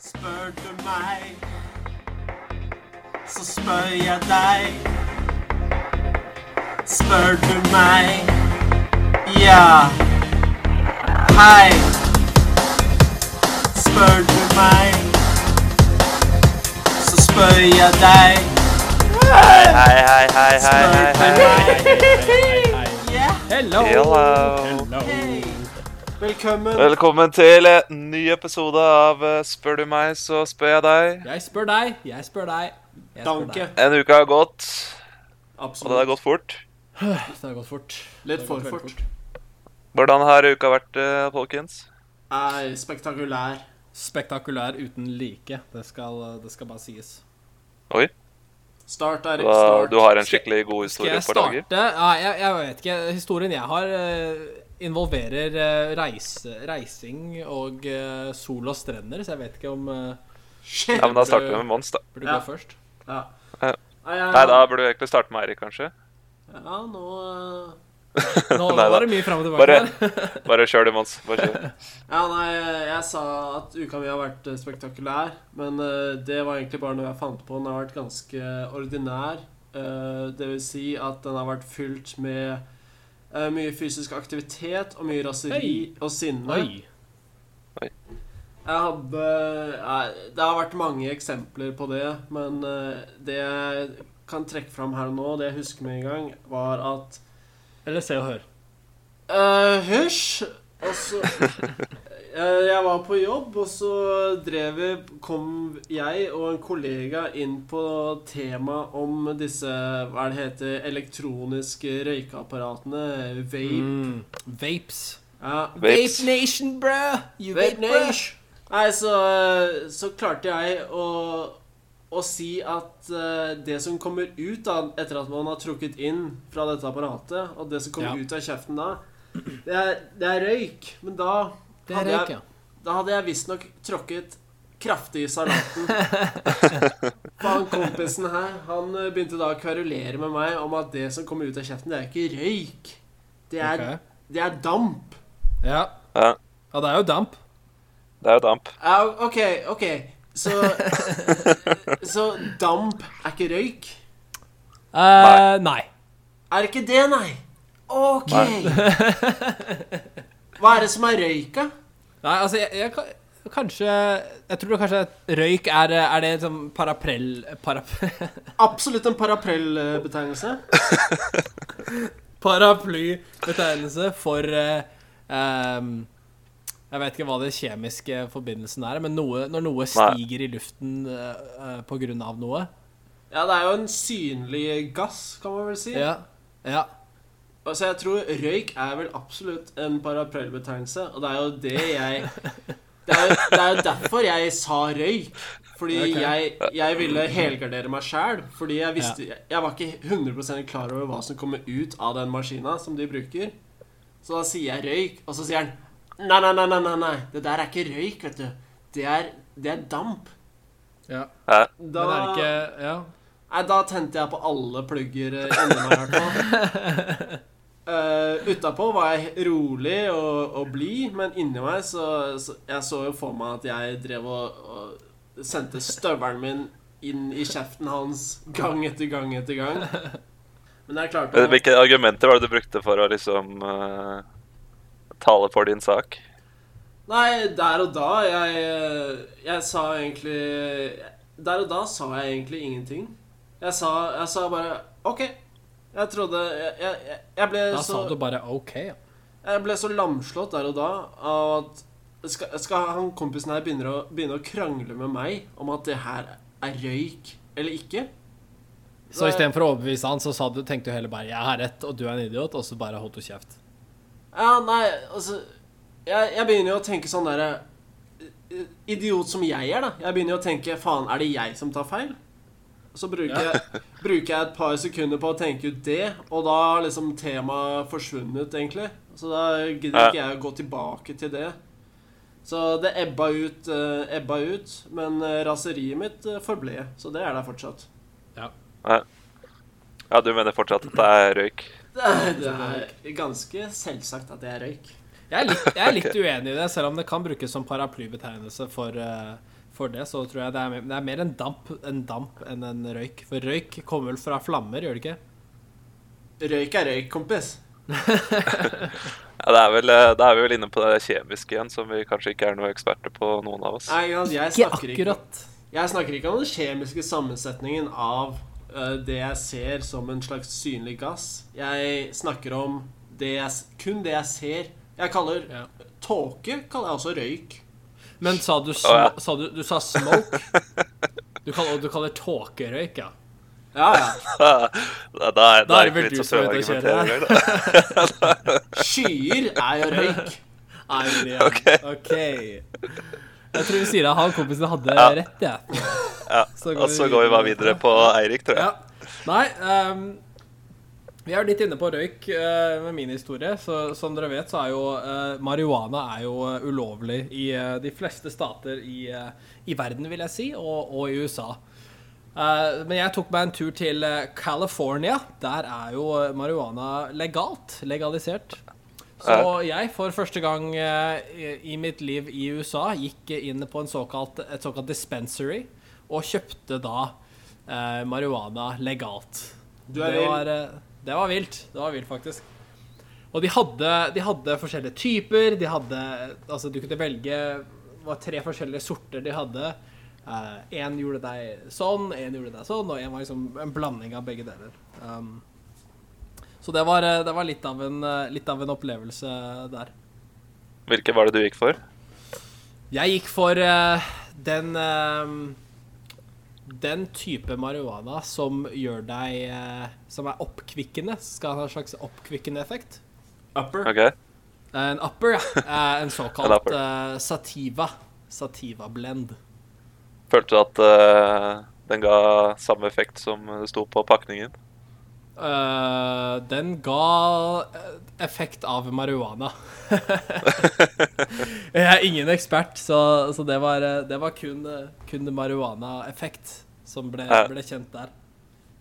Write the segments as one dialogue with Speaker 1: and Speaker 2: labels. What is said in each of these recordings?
Speaker 1: Spør du meg, så spør jeg deg. Spør du meg, ja. Hei. Spør du meg, så spør jeg deg.
Speaker 2: Hei, hei, hei, hei, hei, hei.
Speaker 1: Ja,
Speaker 3: Hello!
Speaker 2: Hello.
Speaker 1: hei. Velkommen.
Speaker 2: Velkommen til en ny episode av eh, Spør du meg, så spør jeg deg.
Speaker 3: Jeg spør deg, jeg spør deg. Jeg spør
Speaker 1: Danke.
Speaker 3: deg.
Speaker 2: En uke har gått, og det har
Speaker 1: Absolutt.
Speaker 2: gått fort.
Speaker 3: Det har gått fort.
Speaker 1: Litt
Speaker 3: Det har
Speaker 1: for
Speaker 3: gått veldig
Speaker 1: fort.
Speaker 2: Hvordan har uka vært, eh, folkens?
Speaker 1: Er spektakulær.
Speaker 3: Spektakulær uten like. Det skal, det skal bare sies.
Speaker 2: Oi,
Speaker 1: Start er
Speaker 2: du har,
Speaker 1: start.
Speaker 2: du har en skikkelig god
Speaker 3: Skal
Speaker 2: historie
Speaker 3: jeg
Speaker 2: på lager.
Speaker 3: starte? Ja, jeg, jeg vet ikke. Historien jeg har, eh, involverer eh, reise, reising og eh, sol og strender, så jeg vet ikke om eh,
Speaker 2: Ja, men da starter vi med Mons, da.
Speaker 3: Burde du
Speaker 1: Ja.
Speaker 3: gå først?
Speaker 1: Ja.
Speaker 2: Ja.
Speaker 1: Nei, jeg-
Speaker 2: Nei, da burde du egentlig starte med Eirik, kanskje.
Speaker 1: Ja, nå eh,
Speaker 3: Nå
Speaker 2: Nei da.
Speaker 3: var det mye fram og tilbake
Speaker 2: Bare,
Speaker 3: der.
Speaker 2: bare kjør du, Mons. Bare kjør.
Speaker 1: Ja, nei, jeg sa at uka mi har vært eh, spektakulær, men eh, det var egentlig bare noe jeg fant på. Den har vært ganske ordinær. Eh, det vil si at den har vært fylt med eh, mye fysisk aktivitet og mye raseri
Speaker 3: Hei.
Speaker 1: og sinne.
Speaker 3: Oi.
Speaker 1: Jeg hadde nei, Det har vært mange eksempler på det, men eh, det jeg kan trekke fram her og nå, det jeg husker med en gang, var at
Speaker 3: Eller se og hør.
Speaker 1: Eh, Hysj! Og så Eh, Jeg var på jobb, og så drev vi Kom jeg og en kollega inn på tema om disse Hva er det heter Elektroniske røykeapparatene. Vape.
Speaker 3: Mm. Vapes.
Speaker 1: Ja.
Speaker 2: Vapes.
Speaker 3: Vape Nation, bruh! You
Speaker 1: Vape
Speaker 3: vape, bruh!
Speaker 1: Nation. Nei, så, eh, så klarte jeg å, å si at eh, det som kommer ut da, etter at man har trukket inn fra dette apparatet, og det som kommer
Speaker 3: Ja.
Speaker 1: ut av kjeften da, det er, det er røyk. Men da
Speaker 3: Det
Speaker 1: hadde
Speaker 3: er røyk,
Speaker 1: jeg,
Speaker 3: ja.
Speaker 1: da hadde jeg visstnok tråkket kraftig i salaten. Faen, kompisen her, han eh, begynte da å kverulere med meg om at det som kommer ut av kjeften, det er ikke røyk. Det er,
Speaker 3: Ok.
Speaker 1: det er damp.
Speaker 3: Ja.
Speaker 2: Ja,
Speaker 3: ja, det er jo damp.
Speaker 2: det er jo damp.
Speaker 1: Ja, OK, OK. Så Så damp er ikke røyk?
Speaker 3: Eh, nei.
Speaker 1: Er ikke det, nei? OK.
Speaker 2: Nei.
Speaker 1: Hva er det som er røyka?
Speaker 3: Nei, altså, jeg, jeg kan- Kanskje Jeg tror kanskje at røyk er Er det som paraprell para,
Speaker 1: Absolutt en paraprellbetegnelse.
Speaker 3: Paraplybetegnelse for eh, ehm, Jeg vet ikke hva det kjemiske forbindelsen er, men noe, når noe stiger i luften eh, eh, på grunn av noe.
Speaker 1: Ja, det er jo en synlig gass, kan man vel si.
Speaker 3: Ja. ja.
Speaker 1: Altså, jeg tror røyk er vel absolutt en paraprellbetegnelse, og det er jo det jeg Det er jo, det er jo derfor jeg sa røyk. Fordi
Speaker 3: Ok.
Speaker 1: jeg, jeg ville helgardere meg sjæl. Fordi jeg visste jeg, jeg var ikke 100 klar over hva som kommer ut av den maskina som de bruker. Så da sier jeg røyk, og så sier han Nei, nei, nei, nei, nei, nei. det der er ikke røyk, vet du. Det er, det er damp.
Speaker 3: ja.
Speaker 2: Ja,
Speaker 1: Da,
Speaker 3: Men er det ikke Ja.
Speaker 1: Nei, da tente jeg på alle plugger eh, inni meg, i hvert fall. Eh, utapå var jeg rolig og, og blid, men inni meg så, så Jeg så jo for meg at jeg drev og, og sendte støvelen min inn i kjeften hans gang etter gang etter gang. Men jeg klarte å
Speaker 2: Hvilke argumenter var det du brukte for å liksom eh, tale for din sak?
Speaker 1: Nei, der og da jeg, jeg sa egentlig Der og da sa jeg egentlig ingenting. Jeg sa, jeg sa bare OK. Jeg trodde Jeg, jeg, jeg- jeg, ble,
Speaker 3: Da
Speaker 1: så,
Speaker 3: sa du bare OK. ja.
Speaker 1: jeg ble så lamslått der og da av at skal, skal han kompisen her begynne å, begynne å krangle med meg om at det her er røyk eller ikke?
Speaker 3: Så eh, istedenfor å overbevise han, så sa du, tenkte du heller bare 'jeg har rett, og du er en idiot', og så bare holdt du kjeft.
Speaker 1: Ja, nei, altså Jeg, jeg begynner jo å tenke sånn derre eh, Idiot som jeg er, da. Jeg begynner jo å tenke Faen, er det jeg som tar feil? Så bruker,
Speaker 3: Ja.
Speaker 1: jeg, bruker jeg et par sekunder på å tenke ut det, og da har liksom temaet forsvunnet, egentlig. Så da gidder
Speaker 2: Ja.
Speaker 1: ikke jeg å gå tilbake til det. Så det ebba ut, eh, ebba ut. Men eh, raseriet mitt eh, forble, så det er der fortsatt.
Speaker 3: Ja.
Speaker 2: Ja, du mener fortsatt at det er røyk?
Speaker 1: Det er, det er ganske selvsagt at det er røyk.
Speaker 3: Jeg er litt, jeg er litt uenig i det, selv om det kan brukes som paraplybetegnelse for, eh, for det, så tror jeg det er, mer- det er mer en damp, en damp enn en røyk. For røyk kommer vel fra flammer, gjør det ikke?
Speaker 1: Røyk er røyk, kompis.
Speaker 2: Ja, det er vel, eh, da er vi vel inne på det kjemiske igjen, som vi kanskje ikke er noen eksperter på, noen av oss.
Speaker 1: Nei, ikke sant, jeg
Speaker 3: Ikke
Speaker 1: snakker ikke,
Speaker 3: akkurat.
Speaker 1: jeg snakker ikke om den kjemiske sammensetningen av eh, det jeg ser som en slags synlig gass. Jeg snakker om det jeg, s- kun det jeg ser. Jeg kaller
Speaker 3: Ja.
Speaker 1: tåke kaller jeg også røyk.
Speaker 3: Men sa du, sm
Speaker 2: Å, ja.
Speaker 3: sa du, du sa smoke? Du, kall, og du kaller tåkerøyk, ja.
Speaker 1: Ja, ja.
Speaker 2: Da, da, da,
Speaker 3: Da
Speaker 2: da
Speaker 3: er
Speaker 2: er
Speaker 3: det
Speaker 2: det
Speaker 3: vel
Speaker 2: ikke
Speaker 3: du
Speaker 2: vits
Speaker 3: som
Speaker 2: å
Speaker 3: er
Speaker 2: prøve å
Speaker 3: ute og
Speaker 2: argumentere
Speaker 3: kjører,
Speaker 2: engang, da.
Speaker 1: Skyer er jo røyk.
Speaker 3: Nei, det er- OK. Jeg tror vi sier at han kompisen hadde rett, jeg.
Speaker 2: Ja.
Speaker 3: Så går
Speaker 2: Og
Speaker 3: vi
Speaker 2: så går vi bare
Speaker 3: videre.
Speaker 2: videre på Eirik, tror jeg.
Speaker 3: Ja. Nei, ehm, vi er jo litt inne på røyk eh, med min historie. Så som dere vet, så er jo eh, marihuana er jo eh, ulovlig i eh, de fleste stater i, eh, i verden, vil jeg si, og, og i USA. Eh, men jeg tok meg en tur til eh, California. Der er jo eh, marihuana legalt. Legalisert. Så jeg, for første gang eh, i i mitt liv i USA, gikk inn på en såkalt, et såkalt dispensary og kjøpte da eh, marihuana legalt.
Speaker 1: Du er
Speaker 3: det,
Speaker 1: vill.
Speaker 3: var, eh, det var vilt. Det var vilt, faktisk. Og de hadde, de hadde forskjellige typer. De hadde Altså, du kunne velge Det var tre forskjellige sorter de hadde. Én gjorde deg sånn, én gjorde deg sånn, og én var liksom en blanding av begge deler. Um, så det var, eh, det var litt, av en, eh, litt av en opplevelse der.
Speaker 2: Hvilke var det du gikk for?
Speaker 3: Jeg gikk for eh, den eh, Den type marihuana som gjør deg eh, Som er oppkvikkende. Skal ha en slags oppkvikkende effekt.
Speaker 1: Upper.
Speaker 2: Ok,
Speaker 3: En upper, ja. Eh, En såkalt
Speaker 2: En upper.
Speaker 3: eh, sativa. Sativa blend.
Speaker 2: Følte du at eh, den ga samme effekt som det sto på pakningen?
Speaker 3: Eh, den ga eh, effekt av marihuana. Jeg er ingen ekspert, så, så det var, eh, det var kun, eh, kun marihuana-effekt som ble,
Speaker 2: Ja.
Speaker 3: ble kjent der.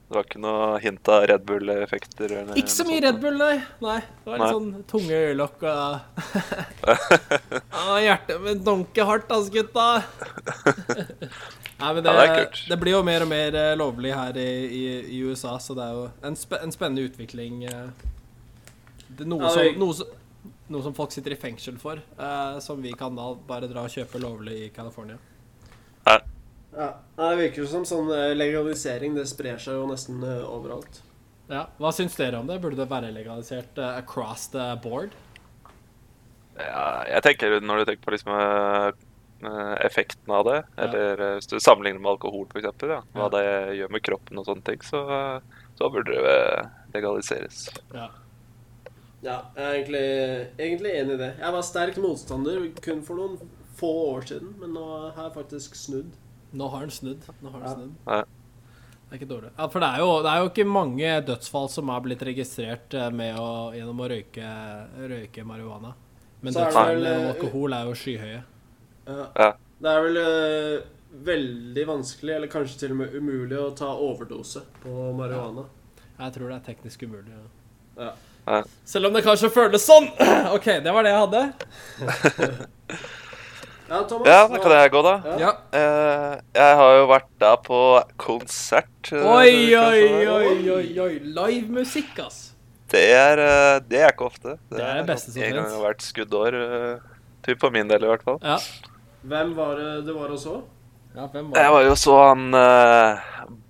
Speaker 2: Det var ikke noe hint av Red Bull-effekter? eller
Speaker 3: Ikke så
Speaker 2: noe
Speaker 3: mye
Speaker 2: sånt.
Speaker 3: Red Bull, nei. nei. Det var litt
Speaker 2: Nei.
Speaker 3: sånn tunge øyelokk og ah, Hjertet mitt dunker hardt, ass, gutta. Nei, men det,
Speaker 2: Ja, det er kult.
Speaker 3: det blir jo mer og mer eh, lovlig her i, i, i USA, så det er jo en, spe, en spennende utvikling. eh. Det er noe,
Speaker 1: Ja, det-
Speaker 3: som, noe, som, noe som folk sitter i fengsel for, eh, som vi kan da bare dra og kjøpe lovlig i California.
Speaker 1: Ja. Det virker jo som sånn eh, legalisering. Det sprer seg jo nesten eh, overalt.
Speaker 3: Ja. Hva syns dere om det? Burde det være legalisert eh, across the board?
Speaker 2: Ja, jeg tenker når du tenker på liksom eh, effekten av det, eller eh, hvis du sammenligner med alkohol f.eks., ja, hva
Speaker 3: Ja.
Speaker 2: det gjør med kroppen og sånne ting, så, eh, så burde det eh, legaliseres.
Speaker 3: Ja.
Speaker 1: Ja, jeg er egentlig, egentlig enig i det. Jeg var sterk motstander kun for noen få år siden, men nå har jeg faktisk snudd.
Speaker 3: Nå har han snudd. Nå har han
Speaker 1: Ja.
Speaker 3: snudd.
Speaker 2: Ja.
Speaker 3: Det er ikke dårlig. Ja, for det er, jo, det er jo ikke mange dødsfall som er blitt registrert eh, med å, gjennom å røyke, røyke marihuana. Men
Speaker 1: Så er det
Speaker 3: dødsfall
Speaker 1: vel,
Speaker 3: med
Speaker 1: eh,
Speaker 3: alkohol er jo skyhøye.
Speaker 1: Ja.
Speaker 2: Ja.
Speaker 1: Det er vel øh, veldig vanskelig, eller kanskje til og med umulig, å ta overdose på marihuana.
Speaker 3: Jeg tror det er teknisk umulig. Ja.
Speaker 1: Ja.
Speaker 2: Ja.
Speaker 3: Selv om det kanskje føles sånn! OK, det var det jeg hadde.
Speaker 1: Ja, Thomas.
Speaker 2: Ja, da kan jeg gå, da.
Speaker 1: Ja.
Speaker 3: Ja.
Speaker 2: Eh, jeg har jo vært da på konsert. eh,
Speaker 3: Oi,
Speaker 2: det kan
Speaker 3: oi,
Speaker 2: være.
Speaker 3: oi, oi, oi. Livemusikk, ass.
Speaker 2: Det er, eh, det er ikke ofte.
Speaker 3: Det er det beste som
Speaker 2: En gang
Speaker 3: finnes.
Speaker 2: har vært skuddår. eh, typ for min del, i hvert fall.
Speaker 3: Ja.
Speaker 1: Hvem var det det var og så?
Speaker 3: ja hvem
Speaker 2: Jeg
Speaker 3: var det?
Speaker 2: var jo så han eh,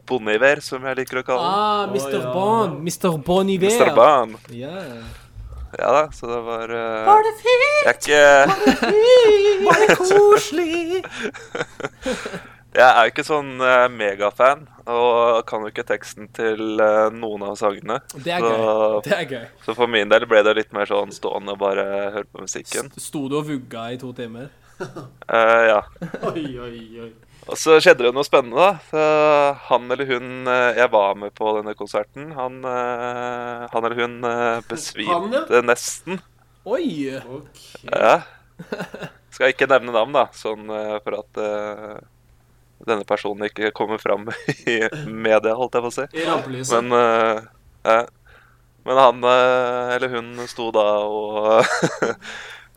Speaker 2: Bon Iver, som jeg liker å kalle han.
Speaker 3: Ah,
Speaker 1: Å,
Speaker 3: Mr.
Speaker 1: ja.
Speaker 3: Bon. Mr. Bon Iver.
Speaker 2: Mr. Ban.
Speaker 3: Ja.
Speaker 2: Ja da, så det var eh,
Speaker 3: Var det fint?
Speaker 2: Jeg er ikke
Speaker 3: Var det koselig?
Speaker 2: Jeg er jo ikke sånn eh, megafan, og kan jo ikke teksten til eh, noen av sangene.
Speaker 3: Det er gøy.
Speaker 2: så,
Speaker 3: Det er gøy.
Speaker 2: så for min del ble det litt mer sånn stående og bare høre på musikken.
Speaker 3: St- Sto du og vugga i to timer?
Speaker 2: Eh, ja.
Speaker 1: Oi, oi, oi.
Speaker 2: Og så skjedde det noe spennende, da. Så han eller hun eh, jeg var med på denne konserten, han, eh, han eller hun eh, besvimte
Speaker 1: Han,
Speaker 2: nesten.
Speaker 3: Oi!
Speaker 1: Ok.
Speaker 2: Ja. Skal ikke nevne navn, da, sånn eh, for at eh, denne personen ikke kommer fram i media, holdt jeg på å si.
Speaker 1: I rampelyset.
Speaker 2: Men, eh, ja. men han eh, eller hun sto da og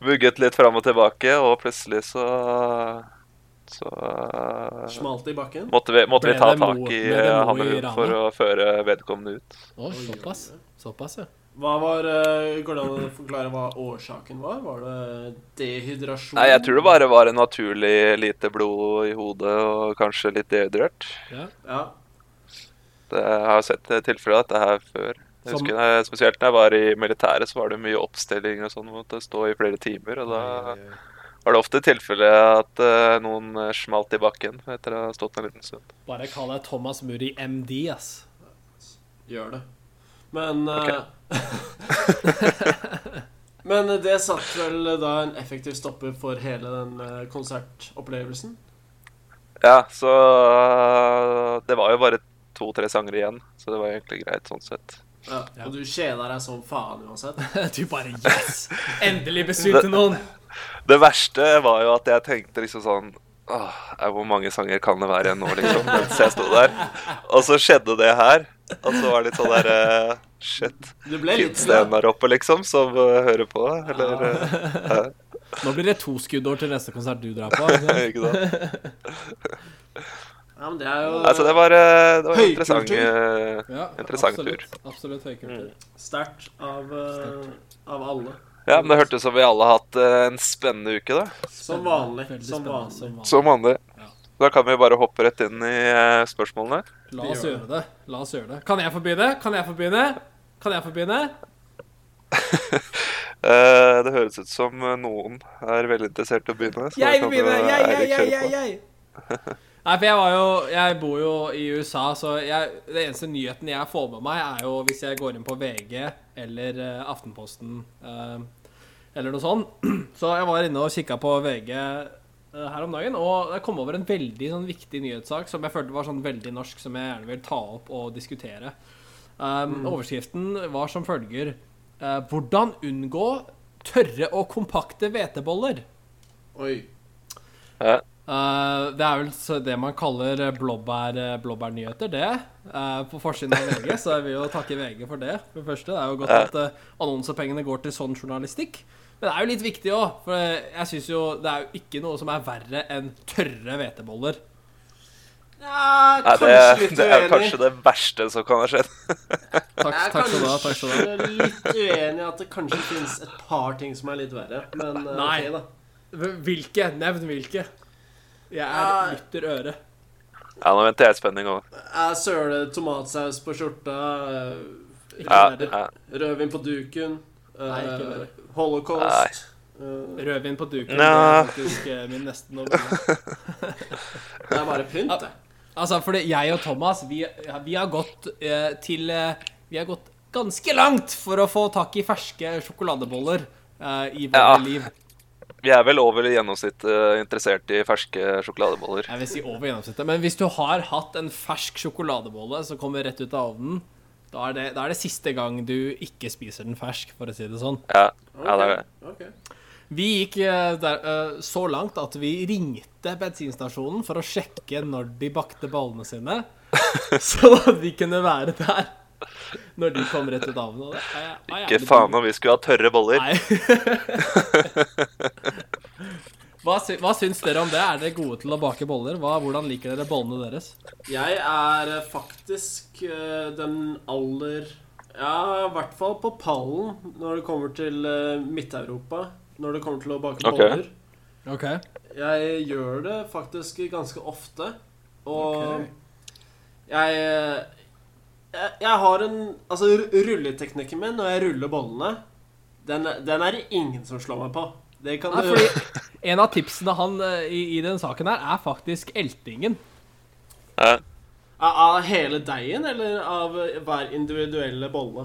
Speaker 2: vugget litt fram og tilbake, og plutselig så Så eh,
Speaker 1: Smalt i bakken.
Speaker 2: måtte vi, måtte
Speaker 4: Ble
Speaker 2: vi ta
Speaker 4: det Mo-
Speaker 2: tak i
Speaker 4: ble det
Speaker 2: eh,
Speaker 4: Mo
Speaker 2: han
Speaker 4: i
Speaker 2: eller hun
Speaker 4: Rana?
Speaker 2: for å føre vedkommende ut.
Speaker 3: Å, såpass. Såpass, ja.
Speaker 1: Hva var eh, Går det an å forklare hva årsaken var? Var det dehydrasjon?
Speaker 2: Nei, jeg tror det bare var en naturlig lite blod i hodet og kanskje litt dehydrert.
Speaker 3: ja.
Speaker 1: Ja.
Speaker 2: Det- Jeg har sett eh, tilfeller av dette her før. Jeg
Speaker 4: Som-
Speaker 2: husker, da jeg- Spesielt når jeg var i militæret, så var det mye oppstilling og sånn. hvor Man måtte stå i flere timer. Og da var det ofte tilfelle at eh, noen eh, smalt i bakken etter å ha stått en liten stund.
Speaker 3: Bare kall deg Thomas Murray MD, ass.
Speaker 1: Gjør det. Men eh, Men det satt vel da en effektiv stopper for hele den eh, konsertopplevelsen?
Speaker 2: Ja, så eh, Det var jo bare to-tre sanger igjen, så det var egentlig greit sånn sett.
Speaker 1: Ja.
Speaker 3: Ja.
Speaker 1: Og du kjeda deg som faen uansett?
Speaker 3: Du bare Yes! Endelig besøkte noen!
Speaker 2: Det verste var jo at jeg tenkte liksom sånn Åh, eh, hvor mange sanger kan det være igjen nå, liksom? Mens jeg sto der. Og så skjedde det her. Og så var det litt sånn derre Shit.
Speaker 1: Du ble litt
Speaker 2: Fins det en der oppe, liksom, som eh, hører på? Eller eh,
Speaker 3: Nå blir det to skuddår til neste konsert du drar på. ikke sant?
Speaker 2: Ikke sant?
Speaker 1: Ja, men det er jo
Speaker 2: Nei, så det var, eh, det var en interessant
Speaker 1: Høykultur.
Speaker 2: eh,
Speaker 4: Ja,
Speaker 2: Interessant Mm.
Speaker 4: absolutt, Absolutt høykultur.
Speaker 1: sterkt av, eh, av alle.
Speaker 2: Ja, men det hørtes ut som vi alle har hatt eh, en spennende uke, da.
Speaker 1: Som vanlig.
Speaker 3: Veldig
Speaker 1: Som
Speaker 3: spennende,
Speaker 1: vanlig.
Speaker 3: som vanlig.
Speaker 2: Som vanlig.
Speaker 3: Ja.
Speaker 2: Da kan vi bare hoppe rett inn i eh, spørsmålene.
Speaker 3: La
Speaker 1: Vi
Speaker 3: oss
Speaker 1: gjør
Speaker 3: gjøre det. La oss gjøre det. Kan jeg få begynne? Kan jeg få begynne? Kan jeg få begynne?
Speaker 2: Eh, det høres ut som eh, noen er veldig interessert i å begynne. så
Speaker 3: Jeg
Speaker 2: kan
Speaker 3: vil begynne!
Speaker 2: jo
Speaker 3: Jeg, jeg,
Speaker 2: Eirik kjøre
Speaker 3: jeg,
Speaker 2: på.
Speaker 3: jeg, jeg! Nei, for jeg var jo Jeg bor jo i USA, så jeg, det eneste nyheten jeg får med meg, er jo hvis jeg går inn på VG eller eh, Aftenposten eh, eller noe sånt. Så jeg var inne og kikka på VG eh, her om dagen, og jeg kom over en veldig sånn viktig nyhetssak som jeg følte var sånn veldig norsk, som jeg gjerne vil ta opp og diskutere. Um, Overskriften var som følger eh, Hvordan unngå tørre og kompakte hveteboller?
Speaker 1: Oi.
Speaker 2: Ja.
Speaker 3: Eh, det er vel så det man kaller eh, blåbær, eh, blåbærnyheter, det. Eh, på forsiden av VG, så jeg vil jo takke VG for det. For det første, Det er jo godt
Speaker 2: Ja.
Speaker 3: at eh, annonsepengene går til sånn journalistikk. Men det er jo litt viktig òg, for eh, jeg syns jo det er jo ikke noe som er verre enn tørre hveteboller.
Speaker 1: Ja,
Speaker 2: Nei,
Speaker 1: kanskje
Speaker 2: det,
Speaker 1: litt
Speaker 2: det
Speaker 1: uenig.
Speaker 2: er kanskje det verste som kan ha skjedd.
Speaker 3: Takk,
Speaker 1: Jeg er
Speaker 3: takk skal du ha. takk skal
Speaker 1: kanskje
Speaker 3: du ha.
Speaker 1: litt uenig i at det kanskje finnes et par ting som er litt verre, men eh,
Speaker 3: Nei.
Speaker 1: ok, da.
Speaker 3: Hvilke? Nevn hvilke. Jeg
Speaker 1: Ja.
Speaker 3: er lytter øre.
Speaker 2: Ja, nå venter jeg i spenning òg.
Speaker 1: Jeg søler tomatsaus på skjorta, eh,
Speaker 3: Ikke
Speaker 2: Ja,
Speaker 3: det der.
Speaker 2: ja.
Speaker 1: rødvin på duken, eh,
Speaker 3: Nei, ikke verre.
Speaker 1: holocaust eh,
Speaker 3: Rødvin på duken.
Speaker 2: Nja.
Speaker 3: Det er faktisk eh, min neste novelle.
Speaker 1: Det er bare pynt, det.
Speaker 3: Altså, fordi jeg og Thomas, vi, ja, vi har gått eh, til eh, Vi har gått ganske langt for å få tak i ferske sjokoladeboller eh, i våre
Speaker 2: Ja.
Speaker 3: liv.
Speaker 2: Vi er vel over i gjennomsnitt eh, interessert i ferske sjokoladeboller.
Speaker 3: Jeg vil si over gjennomsnittet. Men hvis du har hatt en fersk sjokoladebolle som kommer rett ut av ovnen, da er, det, da er det siste gang du ikke spiser den fersk, for å si det sånn.
Speaker 2: Ja, ja det er det.
Speaker 1: Ok.
Speaker 3: Vi gikk eh, der, eh, så langt at vi ringte bensinstasjonen for å sjekke når de bakte bollene sine, sånn at vi kunne være der når de kom rett ut av den. og det er- er
Speaker 2: Ikke
Speaker 3: jævlig
Speaker 2: faen
Speaker 3: dumt.
Speaker 2: om vi skulle ha tørre boller.
Speaker 3: Nei. hva, sy hva syns dere om det? Er dere gode til å bake boller? Hva, hvordan liker dere bollene deres?
Speaker 1: Jeg er eh, faktisk eh, den aller Ja, i hvert fall på pallen når det kommer til eh, Midt-Europa. Når det kommer til å bake
Speaker 2: Ok.
Speaker 1: boller.
Speaker 3: Ok.
Speaker 1: Jeg gjør det faktisk ganske ofte. Og
Speaker 3: Ok.
Speaker 1: jeg, jeg Jeg har en Altså, ru- rulleteknikken min når jeg ruller bollene, den, er- den er det ingen som slår meg på. Det kan
Speaker 3: Nei,
Speaker 1: du
Speaker 3: fordi en av tipsene han eh, i, i den saken her, er faktisk eltingen.
Speaker 2: Ja.
Speaker 1: Av av hele deigen eller av hver individuelle bolle?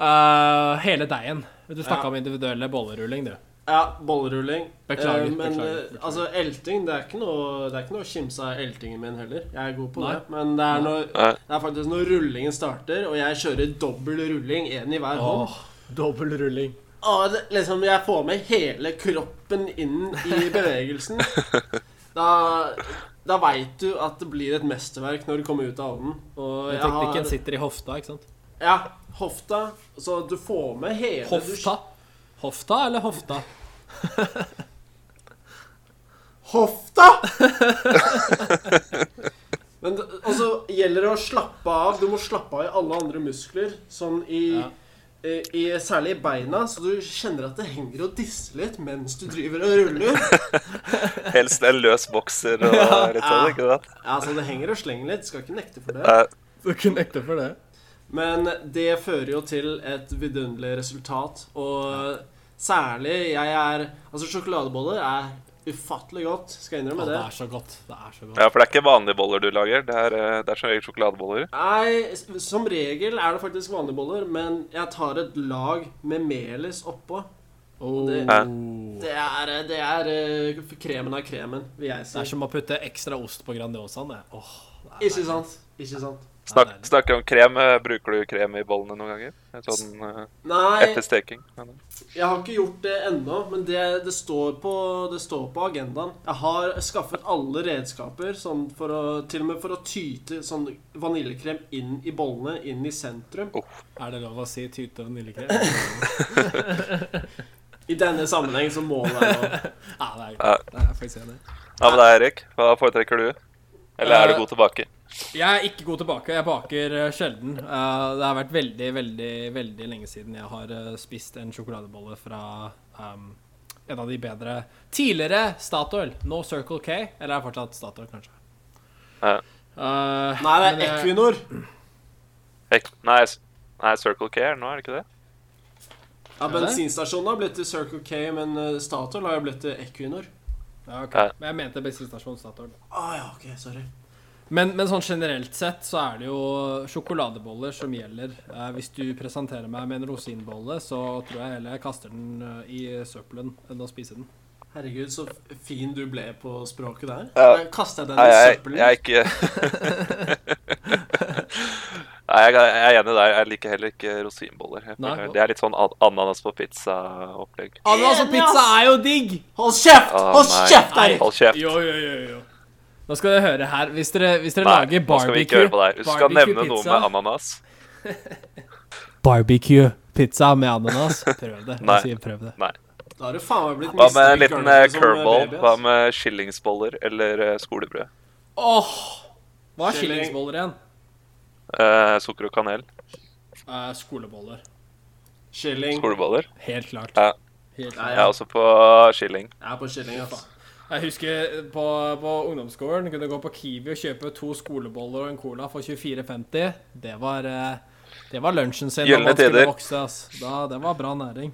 Speaker 3: Eh, hele deigen. Du snakka
Speaker 1: Ja.
Speaker 3: om individuelle bollerulling, du.
Speaker 1: Ja, bollerulling.
Speaker 3: Beklager,
Speaker 1: Eh, men
Speaker 3: beklager,
Speaker 1: eh,
Speaker 3: beklager.
Speaker 1: altså, elting det er ikke noe Det er ikke noe å kimse av eltingen min heller. Jeg er god på
Speaker 3: Nei.
Speaker 1: det. Men det er, når,
Speaker 2: Nei.
Speaker 1: det er faktisk når rullingen starter, og jeg kjører dobbel rulling, én i hver hånd.
Speaker 3: Åh, dobbel rulling.
Speaker 1: Og det, liksom, jeg får med hele kroppen inn i bevegelsen. Da, da veit du at det blir et mesterverk når du kommer ut av ovnen. Og
Speaker 3: Men
Speaker 1: jeg
Speaker 3: teknikken
Speaker 1: har
Speaker 3: sitter i hofta, ikke sant?
Speaker 1: Ja, hofta. Så du får med hele du-
Speaker 3: Hofta. Hofta eller hofta?
Speaker 1: Hofta! da! Men d- og så gjelder det å slappe av. Du må slappe av i alle andre muskler. Sånn i,
Speaker 3: Ja.
Speaker 1: i, i Særlig i beina, så du kjenner at det henger og disser litt mens du driver og ruller.
Speaker 2: Helst en løs bokser og litt sånn, ikke sant?
Speaker 1: Ja, altså Det henger og slenger litt. Skal ikke nekte for det.
Speaker 2: Eh,
Speaker 3: Du kunne nekte for det.
Speaker 1: Men det fører jo til et vidunderlig resultat, og særlig jeg er Altså, sjokoladeboller er ufattelig godt, skal jeg
Speaker 3: Å,
Speaker 1: innrømme
Speaker 3: det
Speaker 1: det.
Speaker 3: er så godt. Det er så godt.
Speaker 2: Ja, for det er ikke vanlige boller du lager. Det er, eh, det er som regel sjokoladeboller.
Speaker 1: Nei, s- som regel er det faktisk vanlige boller, men jeg tar et lag med melis oppå.
Speaker 3: Oh,
Speaker 1: det-
Speaker 3: det
Speaker 1: Det er, det er eh, kremen av kremen, vil jeg
Speaker 3: er
Speaker 1: si.
Speaker 3: som å putte ekstra ost på Grandiosaen. Det. Åh, det er
Speaker 1: Ikke sant? Ikke sant?
Speaker 2: Snak,
Speaker 3: deilig.
Speaker 2: snakker om krem. eh, Bruker du krem i bollene noen ganger? Sånn eh,
Speaker 1: Nei,
Speaker 2: etter steking? mener jeg.
Speaker 1: jeg har ikke gjort det ennå, men det, det, står på, det står på agendaen. Jeg har skaffet alle redskaper, sånn for å, til og med for å tyte sånn vaniljekrem inn i bollene, inn i sentrum.
Speaker 3: Er det lov å si tyte vaniljekrem?
Speaker 1: I denne sammenheng så må det være lov.
Speaker 3: Ja, det er
Speaker 2: Ja.
Speaker 3: det er faktisk enig.
Speaker 2: Ja, men da, Erik, hva foretrekker du? Eller er
Speaker 3: Eh,
Speaker 2: du god tilbake?
Speaker 3: Jeg er ikke god tilbake. Jeg baker eh, sjelden. Eh, det har vært veldig, veldig veldig lenge siden jeg har eh, spist en sjokoladebolle fra ehm, en av de bedre Tidligere Statoil. Nå Circle K. Eller er det fortsatt Statoil, kanskje.
Speaker 2: Ja.
Speaker 3: Eh,
Speaker 1: Nei, det er
Speaker 3: men jeg-
Speaker 1: Equinor.
Speaker 2: Ek nei, s- nei, Circle K er det nå, er det ikke det?
Speaker 1: Ja, bensinstasjonen har blitt til Circle K, men eh, Statoil har jo blitt til Equinor.
Speaker 3: Ja, ok.
Speaker 2: Ja.
Speaker 3: Men jeg mente bensinstasjon Statoil.
Speaker 1: Ah, ja, ok, sorry.
Speaker 3: Men, men sånn generelt sett så er det jo sjokoladeboller som gjelder. Eh, hvis du presenterer meg med en rosinbolle, så tror jeg heller jeg kaster den eh, i søppelen enn å spise den.
Speaker 1: Herregud, så f- fin du ble på språket der.
Speaker 2: Ja.
Speaker 1: Der Kastet jeg den
Speaker 2: Nei,
Speaker 1: i
Speaker 2: jeg, jeg er
Speaker 1: søppelen?
Speaker 2: ikke Nei, jeg er jeg er enig der. Jeg liker heller ikke rosinboller. Jeg
Speaker 3: Nei,
Speaker 2: føler-
Speaker 3: godt.
Speaker 2: Det er litt sånn an- ananas på pizza-opplegg.
Speaker 3: Ananas og pizza er jo digg!
Speaker 1: Hold kjeft!
Speaker 2: Å,
Speaker 1: Hold
Speaker 2: nei.
Speaker 1: kjeft, Eirik!
Speaker 2: Hold kjeft.
Speaker 3: Jo, jo, jo, jo. Nå skal dere høre her. Hvis dere, hvis dere
Speaker 2: Nei,
Speaker 3: lager
Speaker 2: nå skal vi ikke høre på deg. Du skal
Speaker 3: barbecue
Speaker 2: nevne noe
Speaker 3: pizza-
Speaker 2: med ananas.
Speaker 3: Barbecue-pizza med ananas. Prøv det.
Speaker 2: Nei.
Speaker 3: Jeg sier prøv det.
Speaker 2: Nei.
Speaker 1: Da har du faen meg blitt
Speaker 2: Hva med en
Speaker 1: mistet i
Speaker 2: liten
Speaker 1: gulvet
Speaker 2: eh,
Speaker 1: som, eh,
Speaker 2: curveball?
Speaker 1: baby, ass.
Speaker 2: Hva med skillingsboller eller eh, skolebrød?
Speaker 3: Åh! Hva
Speaker 1: Kylling.
Speaker 3: er skillingsboller igjen?
Speaker 2: Eh, sukker og kanel.
Speaker 3: Eh, skoleboller.
Speaker 1: Kylling.
Speaker 2: Skoleboller.
Speaker 3: Helt klart.
Speaker 2: Ja.
Speaker 3: Helt klart.
Speaker 1: Nei,
Speaker 2: Jeg er
Speaker 1: jeg,
Speaker 2: også på skilling.
Speaker 1: jeg er på kylling, ass.
Speaker 3: Jeg husker på, på ungdomsskolen kunne gå på Kiwi og kjøpe to skoleboller og en cola for 24,50. Det var, eh, det var lunsjen sin da
Speaker 2: Gylne
Speaker 3: man skulle
Speaker 2: tider.
Speaker 3: vokse. Ass. Da, det var bra næring.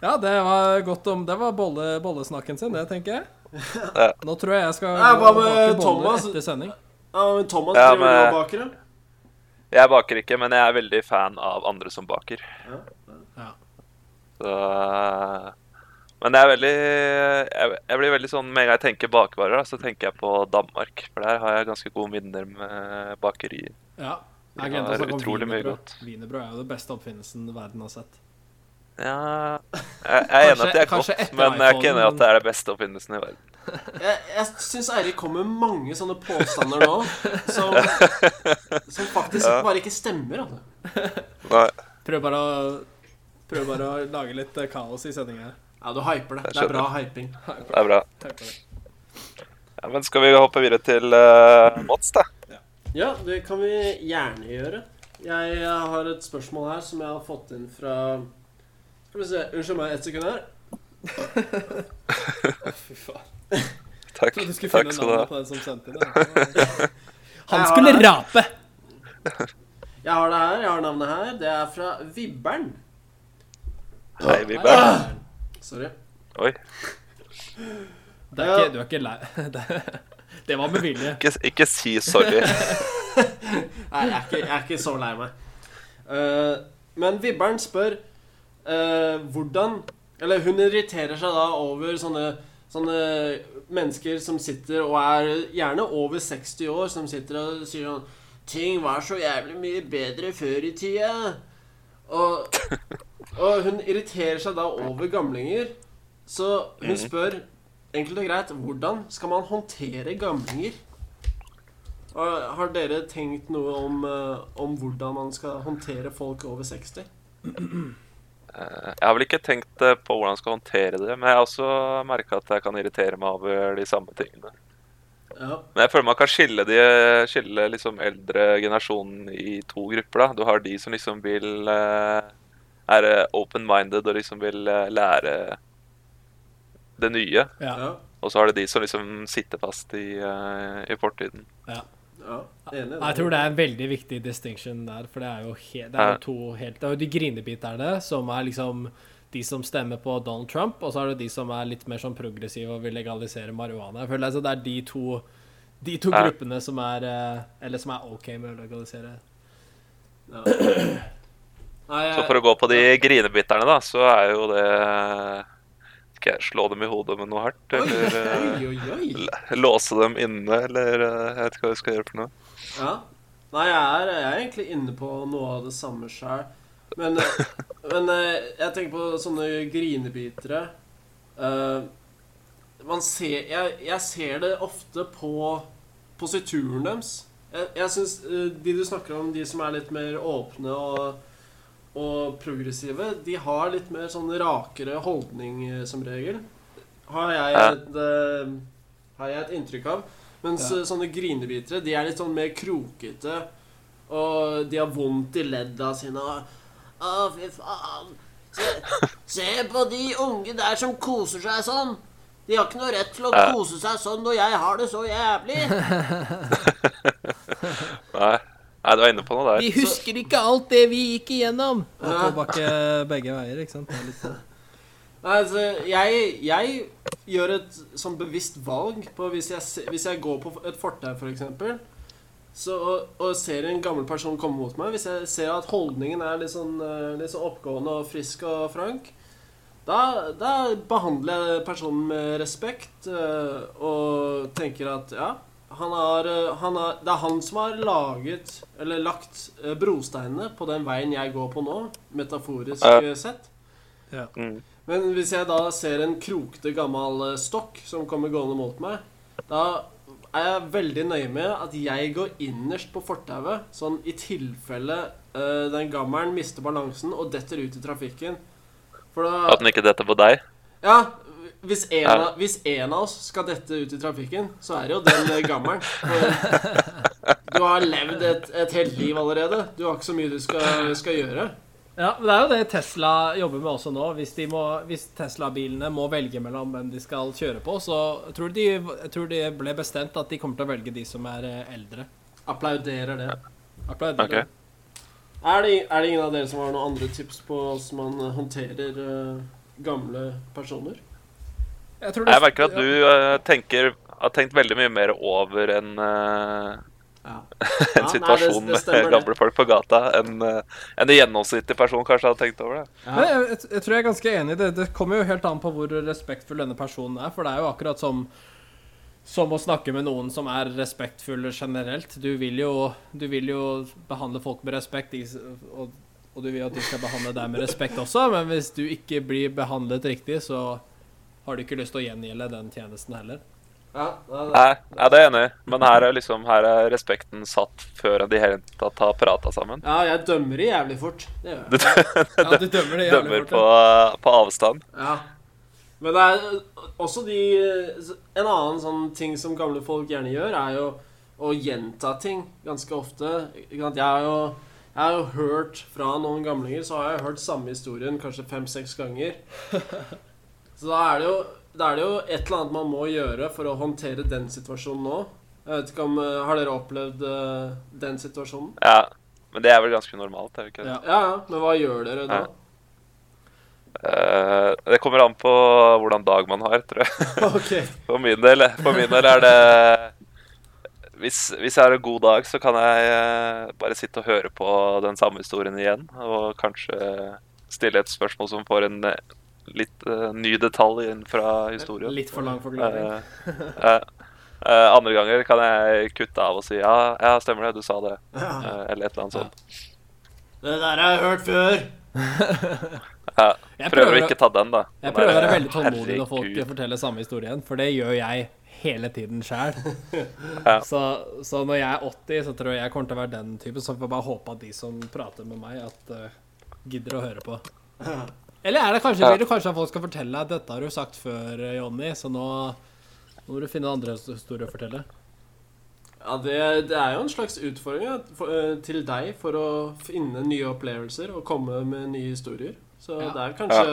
Speaker 3: ja, det var godt om Det var bolle, bollesnakken sin, det, tenker jeg. Nå tror jeg jeg skal
Speaker 1: Ja,
Speaker 3: gå
Speaker 1: hva
Speaker 3: og
Speaker 1: med
Speaker 3: bake boller
Speaker 1: Thomas?
Speaker 3: etter sending.
Speaker 1: Ja, men Thomas
Speaker 2: Ja,
Speaker 1: driver
Speaker 2: men-
Speaker 1: og baker, ja.
Speaker 2: Jeg baker ikke, men jeg er veldig fan av andre som baker.
Speaker 3: Ja.
Speaker 2: Så, eh, men jeg er veldig jeg, jeg blir veldig sånn Med en gang jeg tenker bakvarer, da, så tenker jeg på Danmark. For der har jeg ganske gode minner med eh, bakeri.
Speaker 3: ja.
Speaker 2: Ja,
Speaker 3: Jeg glemte å
Speaker 2: det er
Speaker 3: snakke om
Speaker 2: utrolig mye
Speaker 3: wienerbrød. Wienerbrød er jo den beste oppfinnelsen verden har sett.
Speaker 2: Ja Jeg, jeg er enig at det er
Speaker 3: Kanskje- kanskje
Speaker 2: godt,
Speaker 3: etter
Speaker 2: men jeg er ikke
Speaker 3: iPhone,
Speaker 2: enig i
Speaker 3: men-
Speaker 2: at det er det beste oppfinnelsen i verden.
Speaker 1: Jeg, jeg syns Eirik kommer med mange sånne påstander nå som, som faktisk bare ikke stemmer. Altså.
Speaker 2: Nei,
Speaker 3: Prøv bare å, prøv bare å lage litt eh, kaos i sendinga.
Speaker 1: Ja, du hyper det. Det er bra hyping.
Speaker 2: det er bra. Ja, men skal vi hoppe videre til eh, Mats, da?
Speaker 1: Ja, det kan vi gjerne gjøre. Jeg eh, har et spørsmål her som jeg har fått inn fra Skal vi se Unnskyld meg et sekund her.
Speaker 3: Fy faen.
Speaker 2: Takk,
Speaker 3: Trodde du skulle
Speaker 2: takk
Speaker 3: finne
Speaker 2: skal du ha.
Speaker 3: navnet på den som sendte inn. det. Han
Speaker 1: Jeg har
Speaker 3: skulle
Speaker 1: det.
Speaker 3: rape!
Speaker 1: Jeg har det her. Jeg har navnet her. Det er fra Vibbern.
Speaker 2: Hei, Vibjørn.
Speaker 3: Ah!
Speaker 1: Sorry.
Speaker 2: Oi,
Speaker 3: Det er ikke, du er ikke lei Det- Det var med vilje.
Speaker 2: ikke, ikke si sorry.
Speaker 1: Nei, jeg er ikke, jeg er ikke så lei meg. Eh, men Vibberen spør eh, hvordan Eller hun irriterer seg da over sånne, sånne mennesker som sitter og er gjerne over 60 år, som sitter og sier sånn Ting var så jævlig mye bedre før i tida. Og, og hun irriterer seg da over gamlinger. Så hun spør enkelt og greit hvordan skal man håndtere gamlinger? Og Har dere tenkt noe om, eh, om hvordan man skal håndtere folk over 60?
Speaker 2: Eh, Jeg har vel ikke tenkt eh, på hvordan jeg skal håndtere det, men jeg har også merka at jeg kan irritere meg over de samme tingene.
Speaker 1: Ja.
Speaker 2: Men jeg føler man kan skille, de, skille liksom eldre generasjonen i to grupper. da. Du har de som liksom vil eh, er eh, open-minded og liksom vil eh, lære det nye.
Speaker 1: Ja. ja.
Speaker 2: Og så har du de som liksom sitter fast i, eh, i fortiden.
Speaker 1: Enig.
Speaker 5: Jeg tror det er en veldig viktig distinction der, for det er jo, he det er jo to helt Det er jo de grinebiterne som er liksom de som stemmer på Donald Trump, og så er det de som er litt mer sånn progressive og vil legalisere marihuana. Jeg føler altså det er de to, de to
Speaker 2: Ja.
Speaker 5: gruppene som er eh, Eller som er OK med å legalisere.
Speaker 1: Nei,
Speaker 2: Så
Speaker 1: jeg-
Speaker 2: for å gå på de grinebitterne, da, så er jo det Skal jeg slå dem i hodet med noe hardt?
Speaker 1: Oi,
Speaker 2: Eller eh,
Speaker 1: oi, oi, oi.
Speaker 2: l- låse dem inne, eller eh, jeg vet ikke hva jeg skal gjøre for noe.
Speaker 1: Ja. Nei, jeg er, jeg er egentlig inne på noe av det samme sjøl. Men, eh, men eh, jeg tenker på sånne grinebitere. Eh, man ser jeg, jeg ser det ofte på posituren deres. Jeg, jeg syns de du snakker om, de som er litt mer åpne og, og progressive, de har litt mer sånn rakere holdning eh, som regel. Har jeg
Speaker 2: Ja.
Speaker 1: et, eh, har jeg et inntrykk av. Mens
Speaker 5: Ja.
Speaker 1: eh, sånne grinebitere, de er litt sånn mer krokete. Og de har vondt i ledda sine. og Å, fy faen. Se, se på de unge der som koser seg sånn. De har ikke noe rett til å
Speaker 2: Ja.
Speaker 1: kose seg sånn når jeg har det så jævlig.
Speaker 2: Nei, Nei du er inne på noe der.
Speaker 5: Vi husker ikke alt det vi gikk igjennom!
Speaker 3: Og tobakk eh, begge veier, ikke sant? Det er litt sånn.
Speaker 1: Nei, altså, jeg, jeg gjør et sånn bevisst valg på hvis jeg, se- hvis jeg går på et fortau, for eksempel, så, og, og ser en gammel person komme mot meg Hvis jeg ser at holdningen er litt sånn, eh, litt sånn oppgående og frisk og frank, da, da behandler jeg personen med respekt eh, og tenker at ja han har, eh, han har, det er han som har laget, eller lagt, eh, brosteinene på den veien jeg går på nå, metaforisk
Speaker 2: Ja.
Speaker 1: eh, sett.
Speaker 2: Mm.
Speaker 1: Men hvis jeg da ser en krokete gammel eh, stokk som kommer gående mot meg, da er jeg veldig nøye med at jeg går innerst på fortauet, sånn i tilfelle eh, den gammelen mister balansen og detter ut i trafikken. For da
Speaker 2: At den ikke detter på deg?
Speaker 1: Ja, hvis en,
Speaker 2: Ja.
Speaker 1: av, hvis en av oss skal dette ut i trafikken, så er det jo den eh, gammelen. For Du har levd et, et helt liv allerede. Du har ikke så mye du skal, skal gjøre.
Speaker 5: Ja, men Det er jo det Tesla jobber med også nå. Hvis, de må- hvis Tesla-bilene må velge mellom hvem de skal kjøre på, så jeg tror de, jeg tror de ble bestemt at de kommer til å velge de som er eh, eldre.
Speaker 1: Applauderer det.
Speaker 5: Applauderer.
Speaker 2: Ok.
Speaker 1: Er det, er det ingen av dere som har noen andre tips på hvordan man håndterer eh, gamle personer?
Speaker 5: Jeg, tror det-
Speaker 2: Jeg merker at du eh, tenker har tenkt veldig mye mer over en, eh,
Speaker 1: Ja.
Speaker 2: en situasjon med gamle folk på gata enn eh, enn en gjennomsnittlig person kanskje hadde tenkt over det.
Speaker 1: Ja.
Speaker 3: Men jeg, jeg, jeg tror jeg er ganske enig i det. Det kommer jo helt an på hvor respektfull denne personen er. For det er jo akkurat som som å snakke med noen som er respektfulle generelt. Du vil jo, du vil jo behandle folk med respekt, i s- og, og du vil at de skal behandle deg med respekt også, men hvis du ikke blir behandlet riktig, så har du ikke lyst til å gjengjelde den tjenesten heller.
Speaker 1: Ja, ja, ja.
Speaker 2: Nei, nei, det er jeg enig i. Men her er, liksom, her er respekten satt før de i hele tatt har prata sammen.
Speaker 1: ja, jeg dømmer det jævlig fort. Det gjør jeg.
Speaker 2: Du
Speaker 5: Ja, du dømmer det jævlig
Speaker 2: dømmer på,
Speaker 5: fort.
Speaker 2: på avstand.
Speaker 1: Ja. Men det er eh, også de En annen sånn ting som gamle folk gjerne gjør, er jo å gjenta ting ganske ofte. Ikke sant? Jeg har jo, jeg har jo hørt fra noen gamlinger, så har jeg hørt samme historien kanskje fem-seks ganger. Så da er det jo da er det jo et eller annet man må gjøre for å håndtere den situasjonen nå. Jeg vet ikke om, eh, Har dere opplevd eh, den situasjonen?
Speaker 2: Ja, men det er vel ganske normalt, er det ikke
Speaker 5: Ja.
Speaker 2: det?
Speaker 1: Ja, ja, men hva gjør dere da?
Speaker 2: Ja. Eh, det kommer an på hvordan dag man har, tror jeg.
Speaker 1: Ok.
Speaker 2: For min del, eh, for min del er det hvis, hvis jeg har en god dag, så kan jeg eh, bare sitte og høre på den samme historien igjen. Og kanskje stille et spørsmål som får en eh, litt eh, ny detalj inn fra historien.
Speaker 5: Litt for lang forklaring.
Speaker 2: Eh, eh, eh, andre ganger kan jeg kutte av og si ja, ja stemmer det, du sa det. Eh, eller et eller annet sånt.
Speaker 1: Det der har jeg hørt før.
Speaker 2: Ja,
Speaker 5: Jeg
Speaker 2: prøver
Speaker 5: prøver
Speaker 2: å
Speaker 5: å-
Speaker 2: ikke ta den, da.
Speaker 5: Jeg
Speaker 2: Den
Speaker 5: prøver å
Speaker 2: der,
Speaker 5: være veldig tålmodig når folk
Speaker 2: herregud.
Speaker 5: forteller samme historien, for det gjør jeg hele tiden sjæl.
Speaker 2: Ja.
Speaker 5: Så, så når jeg er 80, så tror jeg jeg kommer til å være den typen. Så får jeg bare håpe at de som prater med meg, at eh, gidder å høre på.
Speaker 3: Eller er det kanskje,
Speaker 2: Ja.
Speaker 3: vil du kanskje at folk skal fortelle deg at dette har du sagt før, eh, Jonny, så nå, nå må du finne andre historier å fortelle.
Speaker 1: Ja, det, det er jo en slags utfordring ja, for, eh, til deg for å finne nye opplevelser og komme med nye historier. Så
Speaker 3: Ja.
Speaker 1: det er kanskje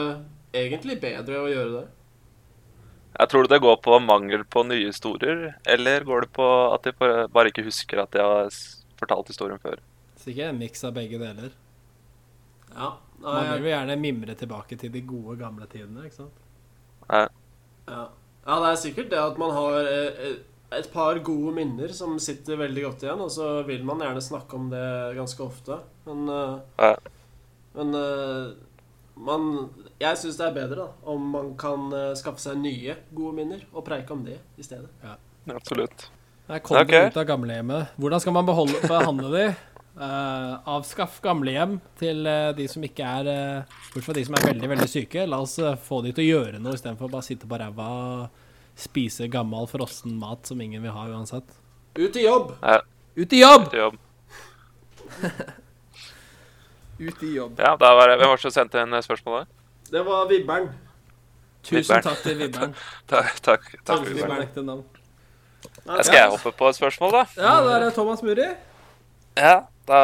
Speaker 1: egentlig bedre å gjøre det.
Speaker 2: Jeg tror det går på mangel på nye historier, eller går det på at de bare- bare ikke husker at de har s- fortalt historien før?
Speaker 3: Sikkert en miks av begge deler.
Speaker 1: Ja. Nei,
Speaker 3: Man vil jo gjerne mimre tilbake til de gode, gamle tidene, ikke sant?
Speaker 1: ja. ja, det er sikkert det at man har eh, eh, et par gode minner som sitter veldig godt igjen, og så vil man gjerne snakke om det ganske ofte. Men, eh,
Speaker 2: Ja.
Speaker 1: men eh, man Jeg syns det er bedre da, om man kan eh, skaffe seg nye gode minner og preike om det i stedet.
Speaker 2: Absolutt.
Speaker 3: Nei, kom deg
Speaker 2: Ok.
Speaker 3: ut av gamlehjemmet. Hvordan skal man beholde, behandle de? Eh, avskaff gamlehjem til eh, de som ikke er eh, Bortsett fra de som er veldig veldig syke. La oss eh, få de til å gjøre noe istedenfor bare sitte på ræva og spise gammel frossen mat som ingen vil ha uansett.
Speaker 1: Ut i jobb!
Speaker 3: Ut i jobb!
Speaker 2: Til Jobb.
Speaker 5: Ut i jobb.
Speaker 2: Ja, da var det. Hvem var det som sendte inn eh, spørsmålet?
Speaker 1: Det var vibberen.
Speaker 3: Tusen
Speaker 2: Vibberen.
Speaker 3: takk til Vibberen.
Speaker 2: Takk. takk, takk.
Speaker 1: Takk,
Speaker 2: for
Speaker 1: Vibberen.
Speaker 2: det.
Speaker 1: Vibberen.
Speaker 5: Ekte navn.
Speaker 1: Nei,
Speaker 2: Skal jeg hoppe på et spørsmål, da?
Speaker 5: Ja, da
Speaker 3: eh,
Speaker 5: er det Thomas Muri.
Speaker 2: Ja, da,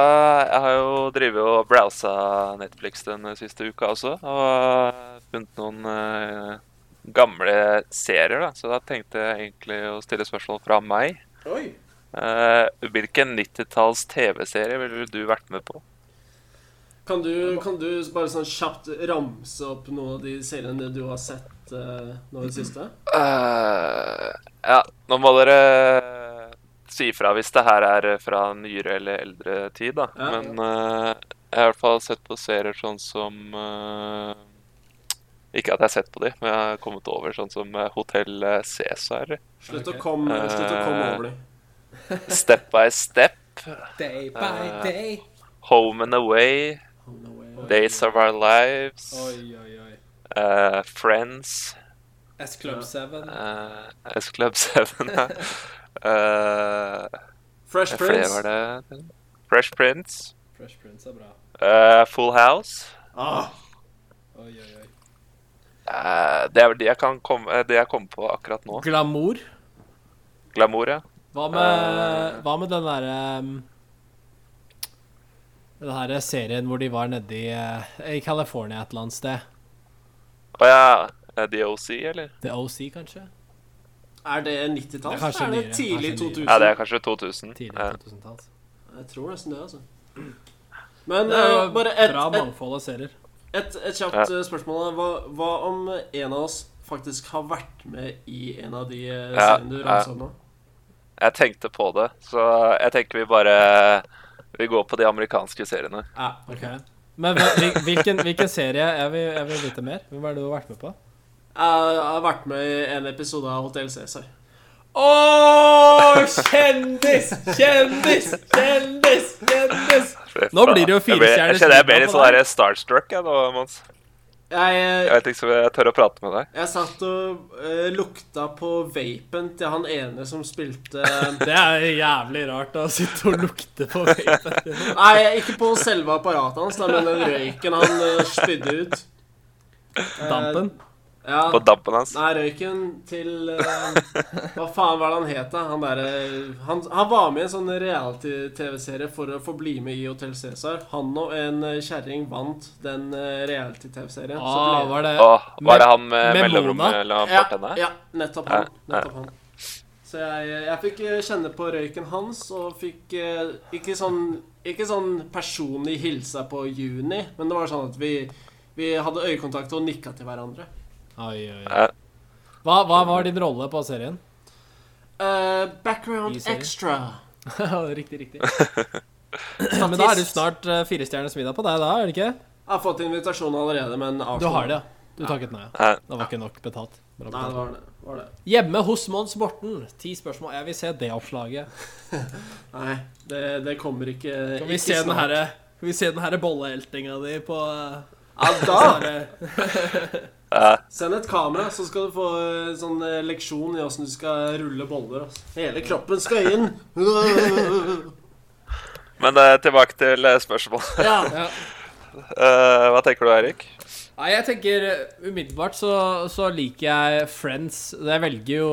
Speaker 2: jeg har jo drevet og browsa Netflix den siste uka også, og funnet noen eh, gamle serier, da. Så da tenkte jeg egentlig å stille spørsmål fra meg.
Speaker 1: Oi!
Speaker 2: Eh, hvilken 90-talls TV-serie ville du vært med på?
Speaker 1: Kan du, kan du bare sånn kjapt ramse opp noen av de seriene du har sett eh, nå i det siste?
Speaker 2: Eh, ja, nå må dere eh, si fra hvis det her er fra nyere eller eldre tid, da.
Speaker 1: Ja.
Speaker 2: Men eh, jeg har i hvert fall sett på serier sånn som eh, Ikke at jeg har sett på de, men jeg har kommet over sånn som eh, Hotell Cæsar.
Speaker 1: Slutt,
Speaker 5: Ok.
Speaker 1: å komme,
Speaker 2: Eh,
Speaker 1: slutt å komme over dem.
Speaker 2: Step by Step.
Speaker 5: Day by
Speaker 2: Eh.
Speaker 5: day.
Speaker 2: Home and Away. Days of Our Lives.
Speaker 5: Oi, oi, oi.
Speaker 2: eh, Friends.
Speaker 5: S Club 7.
Speaker 2: eh, S Club 7. ja. Eh,
Speaker 1: Fresh
Speaker 2: flere
Speaker 1: Prince.
Speaker 2: var det. Fresh Prince.
Speaker 5: Fresh Prince er bra.
Speaker 2: Eh, Full House.
Speaker 1: Ah,
Speaker 5: Oi, oi, oi.
Speaker 2: Eh, det er vel de jeg kan komme, eh, det jeg kommer på akkurat nå.
Speaker 3: Glamour.
Speaker 2: Glamour, ja.
Speaker 3: Hva med, hva med den derre um, Den herre serien hvor de var nedi i California et eller annet sted.
Speaker 2: Å ja. eh, DOC, eller?
Speaker 3: The OC, kanskje?
Speaker 1: er det
Speaker 3: Det er
Speaker 1: 90-tall?
Speaker 3: kanskje
Speaker 1: Er det
Speaker 3: nyere,
Speaker 1: tidlig
Speaker 3: kanskje
Speaker 1: 2000?
Speaker 2: Ja, det er kanskje 2000.
Speaker 3: Tidlig
Speaker 2: Ja.
Speaker 3: 2000-talls.
Speaker 1: Jeg tror nesten det, altså. Men
Speaker 3: Det er jo
Speaker 1: eh, bare et,
Speaker 3: bra
Speaker 1: et,
Speaker 3: mangfold av serier.
Speaker 1: et, et kjapt eh, spørsmål. da. Hva, hva om en av oss faktisk har vært med i en av de eh,
Speaker 2: Ja,
Speaker 1: seriene du
Speaker 2: ja.
Speaker 1: ramsa opp nå?
Speaker 2: Jeg tenkte på det, så jeg tenker vi bare Vi går på de amerikanske seriene.
Speaker 1: Ja,
Speaker 3: Ok. Men hva- hvil- hvilken, hvilken serie Jeg vil, jeg vil vite mer. Hvem er det du har vært med på?
Speaker 1: Jeg har vært med i en episode av Hotell Cæsar.
Speaker 5: Å, kjendis! Kjendis! Kjendis! Kjendis!
Speaker 3: Nå blir det jo
Speaker 2: Jeg ble-
Speaker 3: firestjerners
Speaker 2: Jeg kjenner jeg ble
Speaker 3: middag
Speaker 2: litt
Speaker 3: på
Speaker 2: sånn
Speaker 3: deg.
Speaker 2: der starstruck, jeg nå, Mons.
Speaker 1: Jeg, eh,
Speaker 2: Jeg vet ikke om jeg tør å prate med deg.
Speaker 1: Jeg satt og eh, lukta på vapen til han ene som spilte eh,
Speaker 3: Det er jævlig rart å sitte og lukte på vapen.
Speaker 1: Nei, ikke på selve apparatet hans, da, men den røyken han eh, spydde ut. Eh,
Speaker 3: Dampen.
Speaker 1: Ja.
Speaker 2: På dampen hans.
Speaker 1: Nei, røyken til eh, Hva faen var det han het, da? Han, derre- han, han var med i en sånn reality-TV-serie for å få bli med i Hotell Cæsar. Han og en eh, kjerring vant den eh, reality-TV-serien.
Speaker 3: Ah,
Speaker 1: så ble-
Speaker 3: var det
Speaker 2: Å, var det han
Speaker 3: med
Speaker 2: med mellomrommet
Speaker 3: Mona?
Speaker 2: mellom
Speaker 1: Ja,
Speaker 2: partene?
Speaker 1: ja, nettopp
Speaker 2: Ja,
Speaker 1: han. Nettopp han. Så jeg, jeg fikk eh, kjenne på røyken hans, og fikk eh, ikke sånn, ikke sånn personlig hilsa på Juni, men det var sånn at vi, vi hadde øyekontakt og nikka til hverandre.
Speaker 3: Oi, oi.
Speaker 2: Ja.
Speaker 3: Hva, hva var din rolle på serien?
Speaker 1: Eh, background
Speaker 3: I serien?
Speaker 1: extra.
Speaker 3: riktig, riktig. Men da er du snart eh, firestjerners middag på deg, da, er det ikke?
Speaker 1: Jeg har fått invitasjon allerede, men avslo.
Speaker 3: Du har det. Du takket nei.
Speaker 2: Ja.
Speaker 3: Det var ikke nok betalt. Bra
Speaker 1: Nei, det
Speaker 3: betalt.
Speaker 1: var det. Var det.
Speaker 3: Hjemme hos Mons Borten. Ti spørsmål. Jeg vil se det oppslaget.
Speaker 1: Nei, det, det kommer ikke
Speaker 3: Kan vi
Speaker 1: ikke
Speaker 3: se den
Speaker 1: snart.
Speaker 3: herre Kan vi se den herre bolleeltinga di på eh,
Speaker 1: Ja, da!
Speaker 3: herre-
Speaker 2: Ja.
Speaker 1: Send et kamera, så skal du få eh, sånn eh, leksjon i åssen du skal rulle boller. Altså. Hele kroppen skal inn.
Speaker 2: Men eh, tilbake til eh, spørsmålet.
Speaker 1: Ja.
Speaker 3: Ja.
Speaker 2: Eh, hva tenker du, Eirik?
Speaker 3: Nei, jeg tenker eh, Umiddelbart så, så liker jeg Friends. Jeg velger jo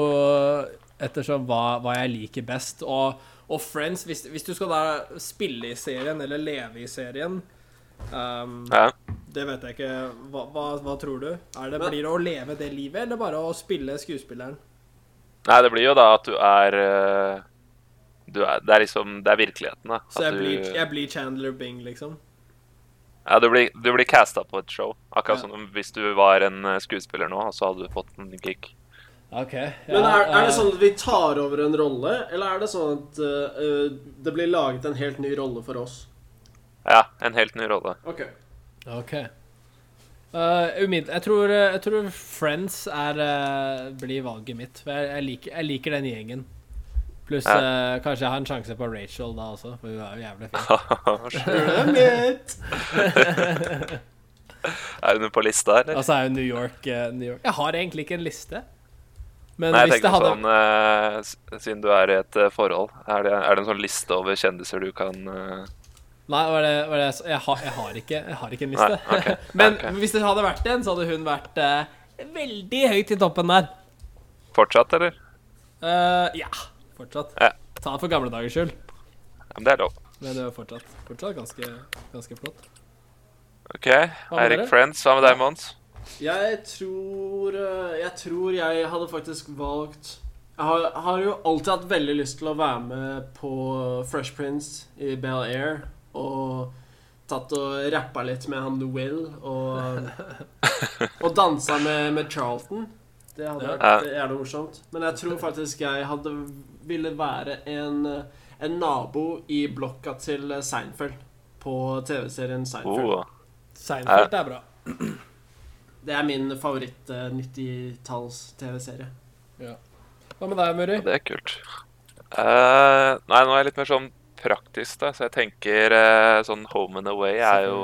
Speaker 3: ettersom hva, hva jeg liker best. Og, og Friends, hvis, hvis du skal da spille i serien eller leve i serien ehm,
Speaker 2: Ja.
Speaker 3: Det vet jeg ikke. Hva, hva, hva tror du? Er det, blir det å leve det livet, eller bare å spille skuespilleren?
Speaker 2: Nei, det blir jo da at du er eh, du er, det er liksom Det er virkeligheten, da. At
Speaker 3: Så jeg blir,
Speaker 2: du,
Speaker 3: jeg blir Chandler Bing, liksom?
Speaker 2: ja, du blir, du blir casta på et show. Akkurat
Speaker 3: Ja.
Speaker 2: som om hvis du var en eh, skuespiller nå, og så hadde du fått en gig.
Speaker 3: OK.
Speaker 1: Men er, er
Speaker 3: eh,
Speaker 1: det sånn at vi tar over en rolle, eller er det sånn at eh, det blir laget en helt ny rolle for oss?
Speaker 2: Ja, en helt ny rolle.
Speaker 1: Ok.
Speaker 3: OK. Eh, umid- jeg, tror, jeg tror Friends er, eh, blir valget mitt. For jeg, jeg, liker, jeg liker den gjengen. Pluss eh, kanskje jeg har en sjanse på Rachel da også, for hun er jo jævlig fin.
Speaker 1: Damn it!
Speaker 2: er hun på lista, eller?
Speaker 3: Og så er jo New York, eh, New York Jeg har egentlig ikke en liste. Men
Speaker 2: Nei, jeg
Speaker 3: hvis det
Speaker 2: tenker
Speaker 3: hadde
Speaker 2: sånn eh, s- Siden du er i et eh, forhold, er det, er det en sånn liste over kjendiser du kan eh,
Speaker 3: Nei, var det, var det jeg, sa? jeg, har, jeg, har ikke, jeg har ikke en liste.
Speaker 2: Nei, ok.
Speaker 3: Men
Speaker 2: Ok.
Speaker 3: hvis det hadde vært en, så hadde hun vært eh, veldig høyt i toppen der.
Speaker 2: Fortsatt, eller?
Speaker 3: Eh, ja, fortsatt.
Speaker 2: Ja.
Speaker 3: Ta det for gamle dagers skyld.
Speaker 2: Ja, men det er lov.
Speaker 3: Men det var fortsatt, fortsatt ganske, ganske flott.
Speaker 2: OK.
Speaker 3: med
Speaker 2: Eirik
Speaker 3: dere?
Speaker 2: Friends, hva med deg, Mons?
Speaker 1: Jeg tror eh, Jeg tror jeg hadde faktisk valgt Jeg har, har jo alltid hatt veldig lyst til å være med på Fresh Prince i Bel Air. Og tatt og rappa litt med han Will, og, og dansa med, med Charlton. Det hadde
Speaker 3: Ja.
Speaker 1: vært jævlig morsomt. Men jeg tror faktisk jeg hadde ville være en, en nabo i blokka til Seinfeld. På TV-serien Seinfeld.
Speaker 2: Oh,
Speaker 3: Seinfeld er bra.
Speaker 1: Det er min eh, favoritt-90-talls-TV-serie.
Speaker 3: Hva med deg, Muri?
Speaker 2: det er kult. Eh, nei, nå er jeg litt mer sånn praktisk, da, så jeg tenker eh, sånn home and away er jo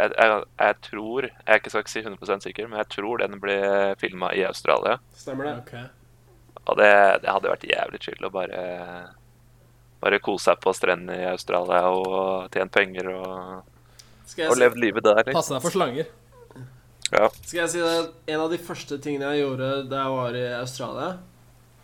Speaker 2: jeg, jeg, jeg tror Jeg er ikke så si 100 sikker, men jeg tror den ble filma i Australia.
Speaker 1: Stemmer det?
Speaker 3: Ok.
Speaker 2: Og det, det hadde vært jævlig chill å bare, bare kose seg på strendene i Australia og tjene penger og,
Speaker 1: Skal
Speaker 2: og
Speaker 1: jeg,
Speaker 2: levd livet der. Liksom.
Speaker 3: Passe deg for slanger.
Speaker 2: Ja.
Speaker 1: si- skal jeg si deg at en av de første tingene jeg gjorde da jeg var i Australia,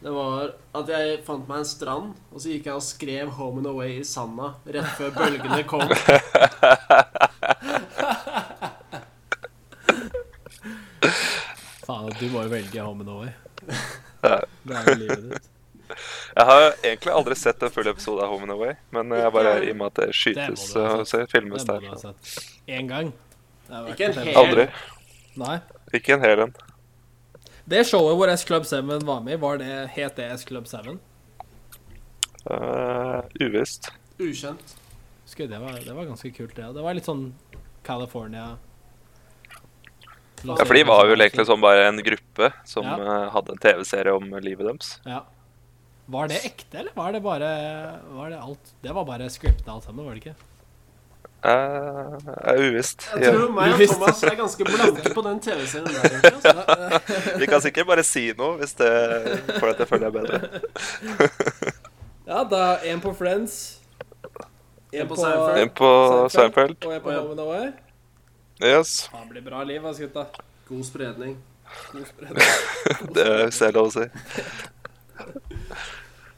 Speaker 1: det var at jeg fant meg en strand, og så gikk jeg og skrev 'Home and Away' i sanda rett før bølgene kom.
Speaker 3: Faen, du må jo velge Home and Away.
Speaker 2: Ja.
Speaker 3: Det er jo livet ditt.
Speaker 2: Jeg har egentlig aldri sett en full episode av Home and Away, men jeg bare, i og med at det skytes
Speaker 3: Det må du ha
Speaker 2: og så filmes
Speaker 3: Det må
Speaker 2: der
Speaker 3: du ha
Speaker 2: så.
Speaker 3: sett. Én gang. Det er verdt
Speaker 1: Ikke en
Speaker 3: å se.
Speaker 1: hel-
Speaker 2: Aldri.
Speaker 3: Nei.
Speaker 2: Ikke en hel en.
Speaker 3: Det showet hvor S Club 7 var med i, var det, het det S Club 7?
Speaker 2: Eh, uvisst.
Speaker 1: Ukjent.
Speaker 3: Husker jeg, det, var, det var ganske kult, det. Det var litt sånn California
Speaker 2: Ja, for de var jo egentlig sånn bare en gruppe som
Speaker 3: Ja.
Speaker 2: eh, hadde en TV-serie om livet deres.
Speaker 3: Ja. Var det ekte, eller var det bare var det alt? Det var bare scripta alt sammen, var det ikke?
Speaker 2: Uh, uvisst.
Speaker 1: Jeg
Speaker 2: Ja.
Speaker 1: tror meg og
Speaker 3: Uvisst.
Speaker 1: Thomas er ganske blanke på den TV-serien der. egentlig, altså.
Speaker 2: Vi kan sikkert bare si noe hvis det får deg til å føle deg bedre.
Speaker 5: Ja, da en på Friends.
Speaker 1: En på Seinfeld.
Speaker 2: Inn på Seinfeld.
Speaker 5: Og en på
Speaker 1: Og en-
Speaker 5: Home and Away.
Speaker 2: Yes.
Speaker 5: Faen, det blir bra liv, ass, gutta.
Speaker 1: God spredning.
Speaker 5: God spredning.
Speaker 2: Det er hvis det er lov å si.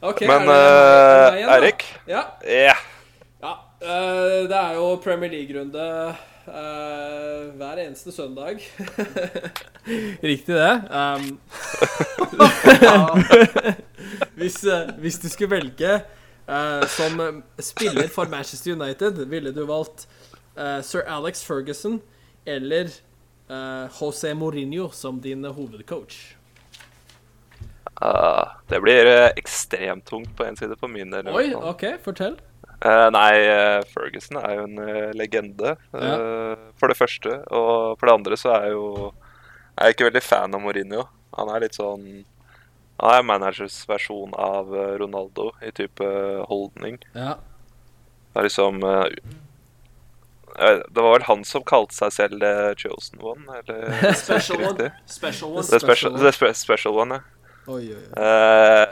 Speaker 5: Ok,
Speaker 2: Men
Speaker 5: er det- er det meg
Speaker 2: eh,
Speaker 5: igjen, da?
Speaker 2: Eirik?
Speaker 5: Ja.
Speaker 2: Ja.
Speaker 5: Ja, eh, det er jo Premier League-runde eh, hver eneste søndag.
Speaker 3: Riktig det. Um,
Speaker 5: Hvis, eh, hvis du skulle velge eh, som eh, spiller for Manchester United, ville du valgt eh, sir Alex Ferguson eller eh, José Mourinho som din hovedcoach?
Speaker 2: Ah, det blir eh, ekstremt tungt på en side for min del. i
Speaker 5: Oi,
Speaker 2: hvert fall.
Speaker 5: OK, fortell.
Speaker 2: Eh, nei, eh, Ferguson er jo en eh, legende, eh, for det første. Og for det andre så er jo Jeg er ikke veldig fan av Mourinho. Han er litt sånn Han er managers versjon av eh, Ronaldo i type holdning.
Speaker 3: ja.
Speaker 2: Det er liksom eh, eh, Det var vel han som kalte seg selv eh, Chosen One, eller? hvis jeg
Speaker 1: Special one.
Speaker 2: husker riktig.
Speaker 1: Special one.
Speaker 2: The special, the spe special One, ja.
Speaker 3: Oi, oi, oi.
Speaker 2: Eh,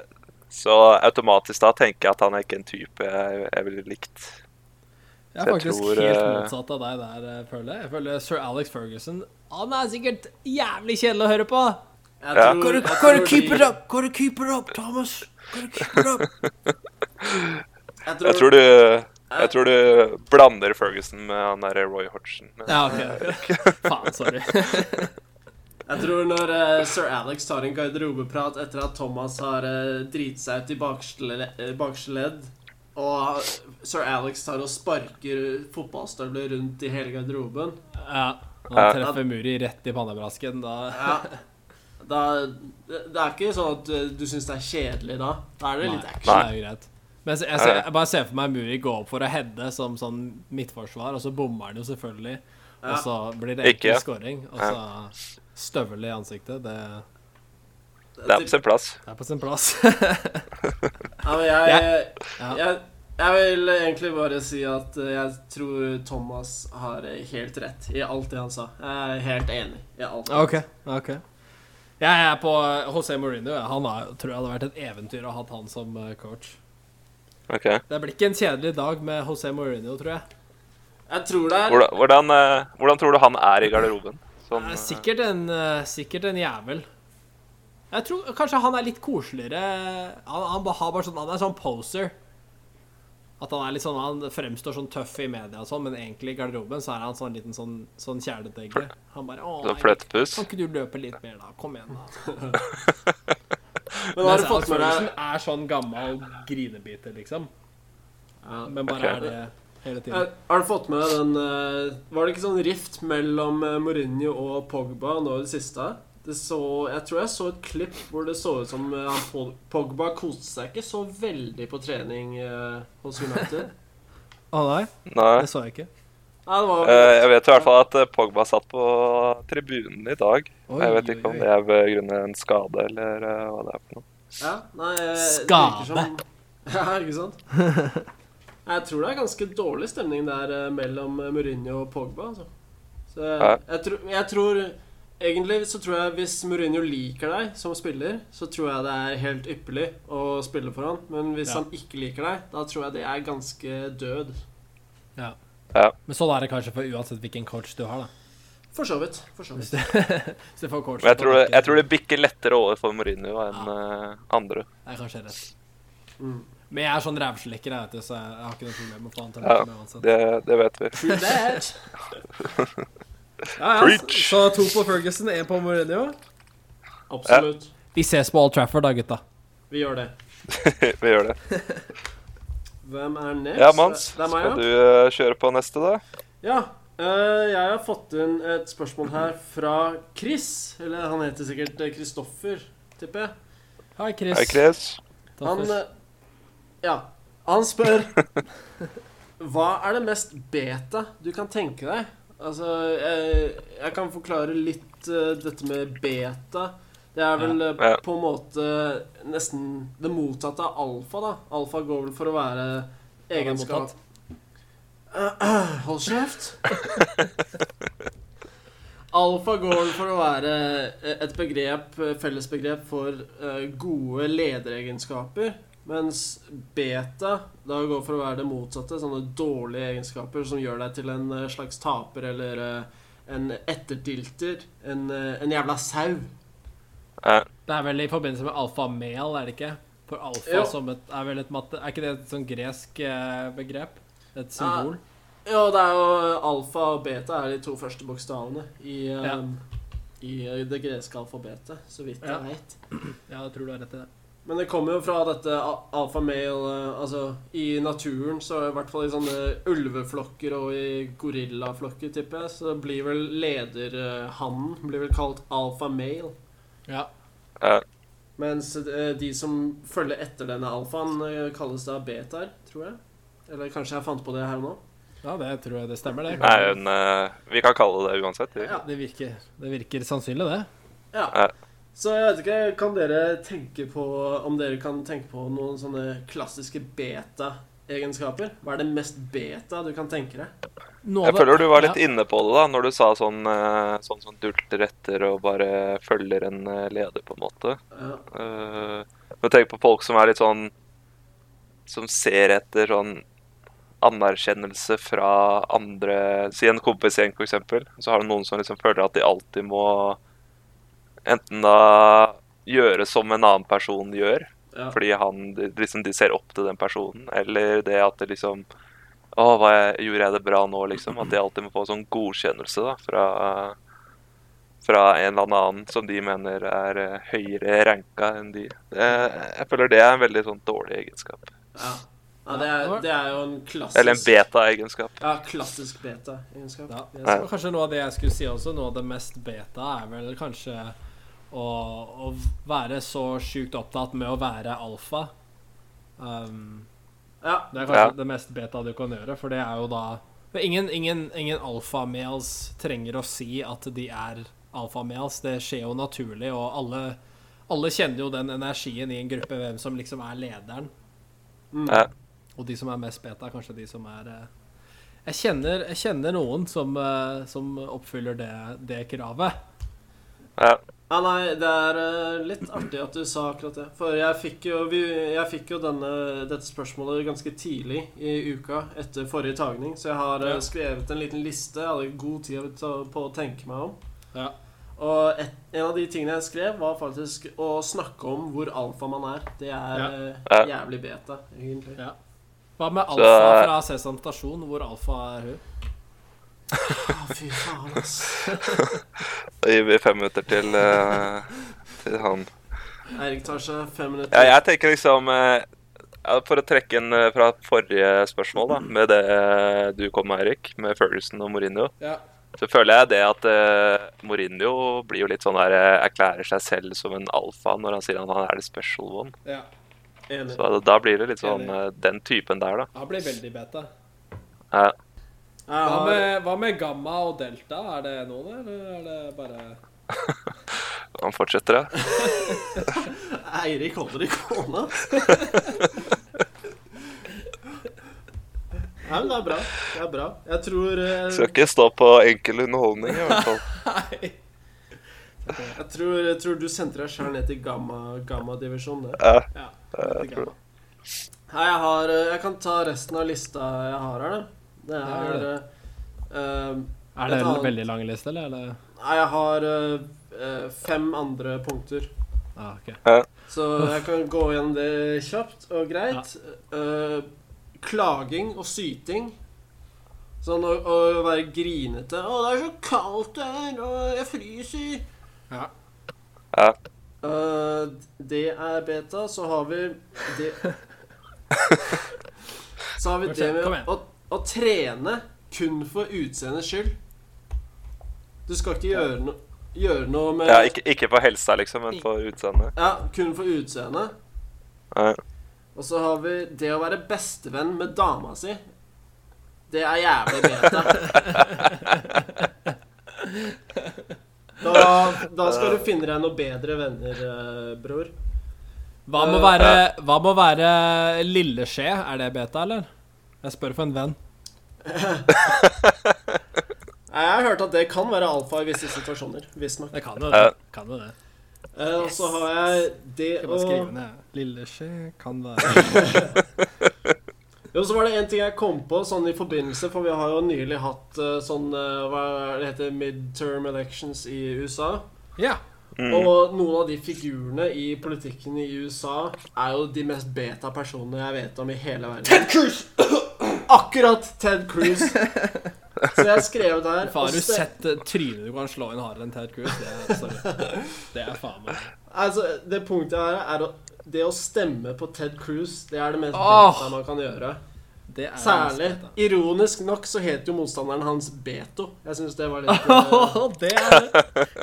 Speaker 2: så automatisk da tenker jeg at han er ikke en type jeg, jeg ville likt. Så
Speaker 3: Jeg er
Speaker 2: jeg
Speaker 3: faktisk
Speaker 2: tror,
Speaker 3: helt
Speaker 2: eh,
Speaker 3: motsatt av deg der, eh, føler jeg. Jeg føler sir Alex Ferguson Han er sikkert jævlig kjedelig å høre på.
Speaker 1: Jeg
Speaker 2: Ja.
Speaker 1: tror- jeg tror de-
Speaker 3: up! Gotta keep it up, Thomas! Gotta keep it up!
Speaker 1: Jeg
Speaker 2: Jeg
Speaker 1: tror
Speaker 2: tror du jeg tror du blander Ferguson med han derre Roy Hodgson.
Speaker 3: Ja, ok. Faen, sorry.
Speaker 1: Jeg tror når eh, sir Alex tar en garderobeprat etter at Thomas har eh, driti seg ut i baksle- eh, baksledd, og sir Alex tar og sparker fotballstøvler rundt i hele garderoben
Speaker 3: Ja. Når
Speaker 2: Ja.
Speaker 3: han treffer Muri rett i pannebrasken, da
Speaker 1: ja, da, Det det er ikke sånn at eh, du syns det er kjedelig da. Da er det litt
Speaker 3: Nei,
Speaker 1: action.
Speaker 3: det
Speaker 2: Nei.
Speaker 3: er jo greit. Men jeg, jeg,
Speaker 2: Nei,
Speaker 3: ser,
Speaker 2: nei.
Speaker 3: jeg bare ser for meg Muri gå opp for å heade som sånn midtforsvar, og så bommer han jo selvfølgelig. Og
Speaker 1: Ja.
Speaker 3: så blir det
Speaker 2: Ikke, ja.
Speaker 3: enkel scoring, og så støvel i ansiktet. Det,
Speaker 2: Det er på sin plass.
Speaker 3: det er på sin plass.
Speaker 1: Ja, men jeg,
Speaker 3: Ja.
Speaker 1: jeg, jeg vil egentlig bare si at eh, jeg tror Thomas har eh, helt rett i alt det han sa. Jeg er helt enig i alt.
Speaker 3: OK. ok Jeg er på José Mourinho. jeg. Han er, tror jeg hadde vært et eventyr å ha hatt han som eh, coach.
Speaker 2: Ok.
Speaker 3: Det blir ikke en kjedelig dag med José Mourinho, tror jeg.
Speaker 1: Jeg tror det er
Speaker 2: Hvordan, hvordan, eh, hvordan tror du han er i garderoben? Sånn,
Speaker 3: Det
Speaker 2: eh,
Speaker 3: er sikkert en, eh, sikkert en jævel. Jeg tror kanskje han er litt koseligere. Han, han, bare har bare sånn, han er sånn poser. At han er litt sånn, han fremstår sånn tøff i media og sånn, men egentlig i garderoben så er han sånn liten sånn, sånn kjæledegge. Han bare Å,
Speaker 2: sånn
Speaker 3: Eirik,
Speaker 2: fløtepus?
Speaker 3: kan ikke du løpe litt mer, da? Kom igjen, da.
Speaker 1: Men har du fått med deg
Speaker 3: Ferguson er sånn gammel grinebiter, liksom.
Speaker 1: Ja.
Speaker 3: Men bare
Speaker 2: Ok.
Speaker 3: er det hele
Speaker 1: Eh,
Speaker 3: tiden.
Speaker 1: Har du fått med deg den eh, Var det ikke sånn rift mellom eh, Mourinho og Pogba nå i det siste? Det så, jeg tror jeg så et klipp hvor det så ut som eh, han Pol- Pogba koste seg ikke så veldig på trening eh, hos United.
Speaker 3: Å nei,
Speaker 2: Nei.
Speaker 3: det så jeg ikke.
Speaker 1: Nei, det var
Speaker 2: Eh, Jeg vet i hvert fall at eh, Pogba satt på tribunen i dag.
Speaker 3: Oi,
Speaker 2: Jeg vet ikke
Speaker 3: oi,
Speaker 2: om
Speaker 3: oi.
Speaker 2: det er begrunnet en skade eller eh, hva det er for noe.
Speaker 1: ja, nei, eh, det virker
Speaker 3: Skade.
Speaker 1: som- Ja, ikke sant? Jeg tror det er ganske dårlig stemning der eh, mellom eh, Mourinho og Pogba. Altså. Så
Speaker 2: Ja.
Speaker 1: jeg, jeg, tror, jeg tror Egentlig så tror jeg hvis Mourinho liker deg som spiller, så tror jeg det er helt ypperlig å spille for han. Men hvis
Speaker 3: Ja.
Speaker 1: han ikke liker deg, da tror jeg det er ganske død.
Speaker 3: Men sånn er det kanskje for uansett hvilken coach du har, da.
Speaker 1: For så vidt. For så vidt.
Speaker 3: Hvis du får coach
Speaker 2: Men jeg tror, det,
Speaker 3: tilbake,
Speaker 2: jeg tror det bikker lettere over for Mourinho enn eh, andre.
Speaker 3: Det er kanskje rett.
Speaker 1: Mm.
Speaker 3: Men jeg er sånn rævslikker, jeg, vet du, så jeg har ikke noe problem med å få han til å
Speaker 2: Ja.
Speaker 3: løpe med uansett.
Speaker 2: Det, det vet vi.
Speaker 1: True that.
Speaker 3: Ja, ja.
Speaker 2: Preach!
Speaker 3: Så to på Ferguson, én på Mourinho.
Speaker 1: Absolutt.
Speaker 3: Vi ses på Old Trafford, da, gutta.
Speaker 1: Vi gjør det.
Speaker 2: vi gjør det.
Speaker 1: Hvem er next?
Speaker 2: Ja, Mans,
Speaker 1: Det er meg, ja.
Speaker 2: skal du eh, kjøre på neste, da?
Speaker 1: Ja, eh, jeg har fått inn et spørsmål her fra Chris. Eller han heter sikkert Kristoffer, tipper jeg.
Speaker 3: Hei, Chris.
Speaker 2: Hei, Chris.
Speaker 1: Han
Speaker 3: Toffers.
Speaker 1: eh, Ja. Han spør Hva er det mest beta du kan tenke deg? Altså, jeg, jeg kan forklare litt eh, dette med beta. Det er vel eh,
Speaker 2: Ja.
Speaker 1: på en måte nesten det motsatte av alfa, da. Alfa går vel for å være
Speaker 3: er
Speaker 1: egenskap... Hold kjeft! Alfa går vel for å være eh, et begrep, fellesbegrep for eh, gode lederegenskaper. Mens beta da går for å være det motsatte. Sånne dårlige egenskaper som gjør deg til en eh, slags taper eller eh, en etterdilter. En, eh, en jævla sau.
Speaker 2: Eh,
Speaker 3: Det er vel i forbindelse med alfa mel, er det ikke? For alfa
Speaker 1: Jo.
Speaker 3: som et, er vel et matte... Er ikke det et sånn gresk eh, begrep? Et symbol?
Speaker 1: Ja, det er jo alfa og beta er de to første bokstavene i, eh,
Speaker 3: Ja.
Speaker 1: i eh, det greske alfabetet, så vidt
Speaker 3: Ja.
Speaker 1: jeg veit.
Speaker 3: Ja, jeg tror du har rett i det.
Speaker 1: Men det kommer jo fra dette al- alfa male eh, Altså, i naturen, så i hvert fall i sånne ulveflokker og i gorillaflokker, tipper jeg, så blir vel lederhannen blir vel kalt alfa male.
Speaker 3: Ja.
Speaker 2: eh,
Speaker 1: Mens eh, de som følger etter denne alfaen, eh, kalles da betaer, tror jeg. Eller kanskje jeg fant på det her og nå.
Speaker 3: ja, det tror jeg det stemmer, det.
Speaker 2: nei, men, eh, vi kan kalle det det uansett. Vi.
Speaker 1: Ja.
Speaker 3: Det virker, det virker sannsynlig, det.
Speaker 1: Ja.
Speaker 2: Ja.
Speaker 1: Så jeg vet ikke, kan dere tenke på om dere kan tenke på noen sånne klassiske beta-egenskaper? Hva er det mest beta du kan tenke deg?
Speaker 3: Noe av
Speaker 2: Jeg
Speaker 3: det-
Speaker 2: føler du var litt
Speaker 3: ja.
Speaker 2: inne på det da, når du sa sånn, eh, sånn som dulter etter og bare følger en eh, leder, på en måte.
Speaker 1: Ja.
Speaker 2: Eh, Men tenk på folk som er litt sånn Som ser etter sånn anerkjennelse fra andre Si en kompisgjeng, f.eks. Så har du noen som liksom føler at de alltid må enten da gjøre som en annen person gjør,
Speaker 1: Ja.
Speaker 2: fordi han, de, liksom, de ser opp til den personen, eller det at det liksom Å, hva jeg, gjorde jeg det bra nå, liksom? At de alltid må få sånn godkjennelse da, fra, fra en eller annen som de mener er eh, høyere ranka enn de. Det, jeg føler det er en veldig sånn dårlig egenskap.
Speaker 1: Ja. Ja, det, er, det er jo en klassisk
Speaker 2: Eller en beta-egenskap.
Speaker 1: Ja, klassisk beta-egenskap.
Speaker 3: Ja, jeg skulle, kanskje noe av det jeg skulle si også, noe av det mest beta, er vel kanskje å, å være så sjukt opptatt med å være alfa. Um,
Speaker 1: Ja.
Speaker 3: det er
Speaker 2: Ja.
Speaker 3: kanskje det mest beta du kan gjøre, for det er jo da for Ingen, ingen, ingen alfamales trenger å si at de er alfamales. Det skjer jo naturlig, og alle, alle kjenner jo den energien i en gruppe, hvem som liksom er lederen.
Speaker 2: Ja.
Speaker 3: Og de som er mest beta, er kanskje de som er eh, Jeg kjenner, jeg kjenner noen som, eh, som oppfyller det, det kravet.
Speaker 2: Ja.
Speaker 1: Ja, nei, det er eh, litt artig at du sa akkurat det. For jeg fikk jo, vi, jeg fikk jo denne, dette spørsmålet ganske tidlig i uka etter forrige tagning, så jeg har eh,
Speaker 3: Ja.
Speaker 1: skrevet en liten liste. Jeg hadde god tid til å- på å tenke meg om.
Speaker 3: Ja.
Speaker 1: Og et, en av de tingene jeg skrev, var faktisk å snakke om hvor alfa man er. Det er eh, jævlig beta, egentlig.
Speaker 3: Ja. Hva med
Speaker 2: Så-
Speaker 3: Alfa fra Sesam stasjon, hvor Alfa er hun?
Speaker 1: Å, fy faen, ass.
Speaker 2: Da gir vi fem minutter til, eh, til han.
Speaker 1: Eirik tar seg fem minutter.
Speaker 2: Ja, jeg tenker liksom eh, ja, For å trekke inn eh, fra forrige spørsmål, da, med det eh, du kom med, Erik, med Ferguson og Mourinho,
Speaker 3: Ja.
Speaker 2: så føler jeg det at eh, Mourinho blir jo litt sånn der eh, Erklærer seg selv som en alfa når han sier at han er the special one.
Speaker 3: ja.
Speaker 1: Enig.
Speaker 2: Så da blir det litt sånn eh, den typen der, da.
Speaker 3: Han blir veldig beta.
Speaker 2: Ja.
Speaker 1: Jeg har-
Speaker 3: hva med gamma og delta? Er det noen, eller er det bare
Speaker 2: Han fortsetter, ja.
Speaker 1: Eirik holder i kona. Nei, men det er bra. Det er bra. Jeg tror, eh,
Speaker 2: Skal ikke stå på enkel underholdning, i hvert fall.
Speaker 1: jeg tror, jeg tror du sendte deg sjøl ned til gamma- gammadivisjon. det.
Speaker 2: Ja.
Speaker 3: Ja.
Speaker 2: jeg tror
Speaker 3: gamma.
Speaker 1: Nei, jeg, har, eh, jeg kan ta resten av lista jeg har her, da. Det
Speaker 3: Ja, gjør
Speaker 1: er
Speaker 3: det.
Speaker 1: eh, eh,
Speaker 3: Er det
Speaker 1: et
Speaker 3: en
Speaker 1: annet-
Speaker 3: veldig lang liste, eller? Er det...
Speaker 1: Nei, jeg har eh, eh, fem andre punkter.
Speaker 3: Ah, ok.
Speaker 1: Så jeg kan gå gjennom det kjapt og greit. Eh, klaging og syting. Sånn å, å være grinete. 'Å, det er så kaldt her, og jeg fryser.'
Speaker 2: Ja.
Speaker 1: Eh, det er beta. Så har vi det Så har vi
Speaker 3: Kom
Speaker 1: det
Speaker 3: igjen, kom igjen.
Speaker 1: med å, å trene kun for utseendets skyld. Du skal ikke gjøre, no, gjøre noe med
Speaker 2: ja ikke, ikke for helsa, liksom, men for utseendet.
Speaker 1: ja, kun for utseendet.
Speaker 2: Ja.
Speaker 1: Og så har vi det å være bestevenn med dama si. Det er jævlig beta. Da, da skal du finne deg noe bedre venner, eh, bror.
Speaker 3: Hva må være, hva må være lilleskje? Er det beta, eller? Jeg spør for en venn.
Speaker 1: Nei, Jeg har hørt at det kan være alfa i visse situasjoner. Visstnok.
Speaker 3: Det kan jo det.
Speaker 2: Ja.
Speaker 3: Kan jo det.
Speaker 1: Eh, Og så har jeg det å
Speaker 3: Skal bare skrive ned. Lilleskje kan være
Speaker 1: Jo, så var det en ting jeg kom på sånn i forbindelse, for vi har jo nylig hatt eh, sånn eh, Hva er det heter midterm elections i USA.
Speaker 3: Ja.
Speaker 1: Og noen av de figurene i politikken i USA er jo de mest beta personene jeg vet om i hele verden. Ted Cruz! Akkurat Ted Cruz. Så jeg skrev der
Speaker 3: Faen, har
Speaker 1: og
Speaker 3: du
Speaker 1: ste-
Speaker 3: sett eh, trynet du kan slå inn hardere enn Ted Cruz? Det er, sorry. Det er faen meg
Speaker 1: Altså, det punktet her er å, det å stemme på Ted Cruz. Det er det mest
Speaker 3: Åh.
Speaker 1: beta man kan gjøre.
Speaker 3: det er
Speaker 1: Særlig.
Speaker 3: nesten
Speaker 1: Ironisk nok så het jo motstanderen hans Beto. Jeg syns det var litt
Speaker 3: beta.
Speaker 1: eh,
Speaker 3: Åh, Det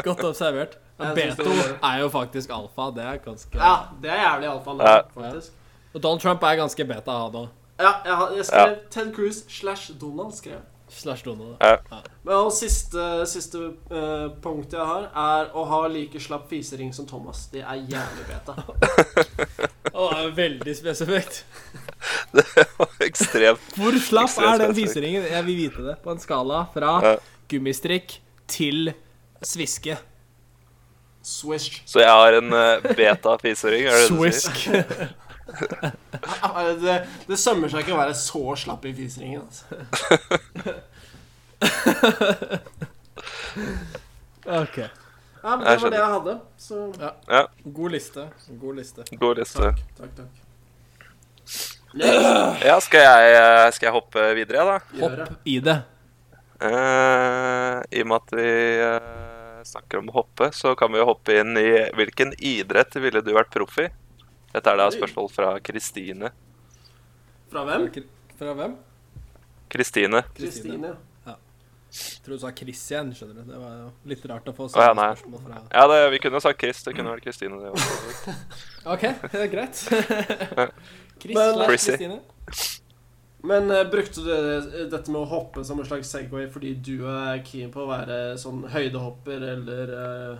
Speaker 3: er godt observert. Men
Speaker 1: Jeg synes
Speaker 3: Beto
Speaker 1: det
Speaker 3: er jo faktisk alfa. Det er ganske
Speaker 1: Ja, det er jævlig alfa nå,
Speaker 2: Ja.
Speaker 1: faktisk.
Speaker 3: Og Donald Trump er ganske beta, han òg.
Speaker 1: Ja, jeg, har- jeg skrev Ted Cruz slash Donald, skrev jeg.
Speaker 3: Slash Donald. da.
Speaker 2: Ja.
Speaker 1: Men og siste, siste eh, punkt jeg har, er å ha like slapp fisering som Thomas. Det er jævlig beta.
Speaker 3: Å, det er veldig spesifikt.
Speaker 2: Det var ekstremt.
Speaker 3: Hvor slapp
Speaker 2: Ekstremt
Speaker 3: er den
Speaker 2: spesifikt.
Speaker 3: viseringen? Jeg vil vite det. På en skala fra
Speaker 2: Ja.
Speaker 3: gummistrikk til sviske.
Speaker 1: Swish.
Speaker 2: Så jeg har en eh, beta-fisering, er det det du sier?
Speaker 3: Swisk.
Speaker 1: Eh, Det, det sømmer seg ikke å være så slapp i fisringen. Altså.
Speaker 3: OK.
Speaker 1: Ja, men det
Speaker 2: Jeg
Speaker 1: var det jeg hadde. Så
Speaker 2: Ja,
Speaker 3: God liste. God liste.
Speaker 2: god liste.
Speaker 1: takk, takk. takk.
Speaker 2: Ja, skal jeg, eh, skal jeg hoppe videre, da?
Speaker 1: Gjør det.
Speaker 3: I det.
Speaker 2: Eh, I og med at vi eh, snakker om å hoppe, så kan vi jo hoppe inn i hvilken idrett ville du vært proff i? Dette er da et spørsmål fra Kristine.
Speaker 1: Fra hvem?
Speaker 3: Fra hvem?
Speaker 2: Kristine.
Speaker 1: Kristine.
Speaker 3: Jeg tror du sa Christian, skjønner du. Det var jo litt rart å få
Speaker 2: Å, ja,
Speaker 3: samme
Speaker 2: nei.
Speaker 3: spørsmål fra
Speaker 2: Ja, det, vi kunne jo sagt Chris. Det kunne vært Kristine, det også.
Speaker 3: OK, det er greit. Chris
Speaker 1: Men-
Speaker 3: slash
Speaker 2: Chrissy.
Speaker 3: Kristine.
Speaker 1: Men eh, brukte du det- dette med å hoppe som en slags Segway fordi du er keen på å være sånn høydehopper eller eh,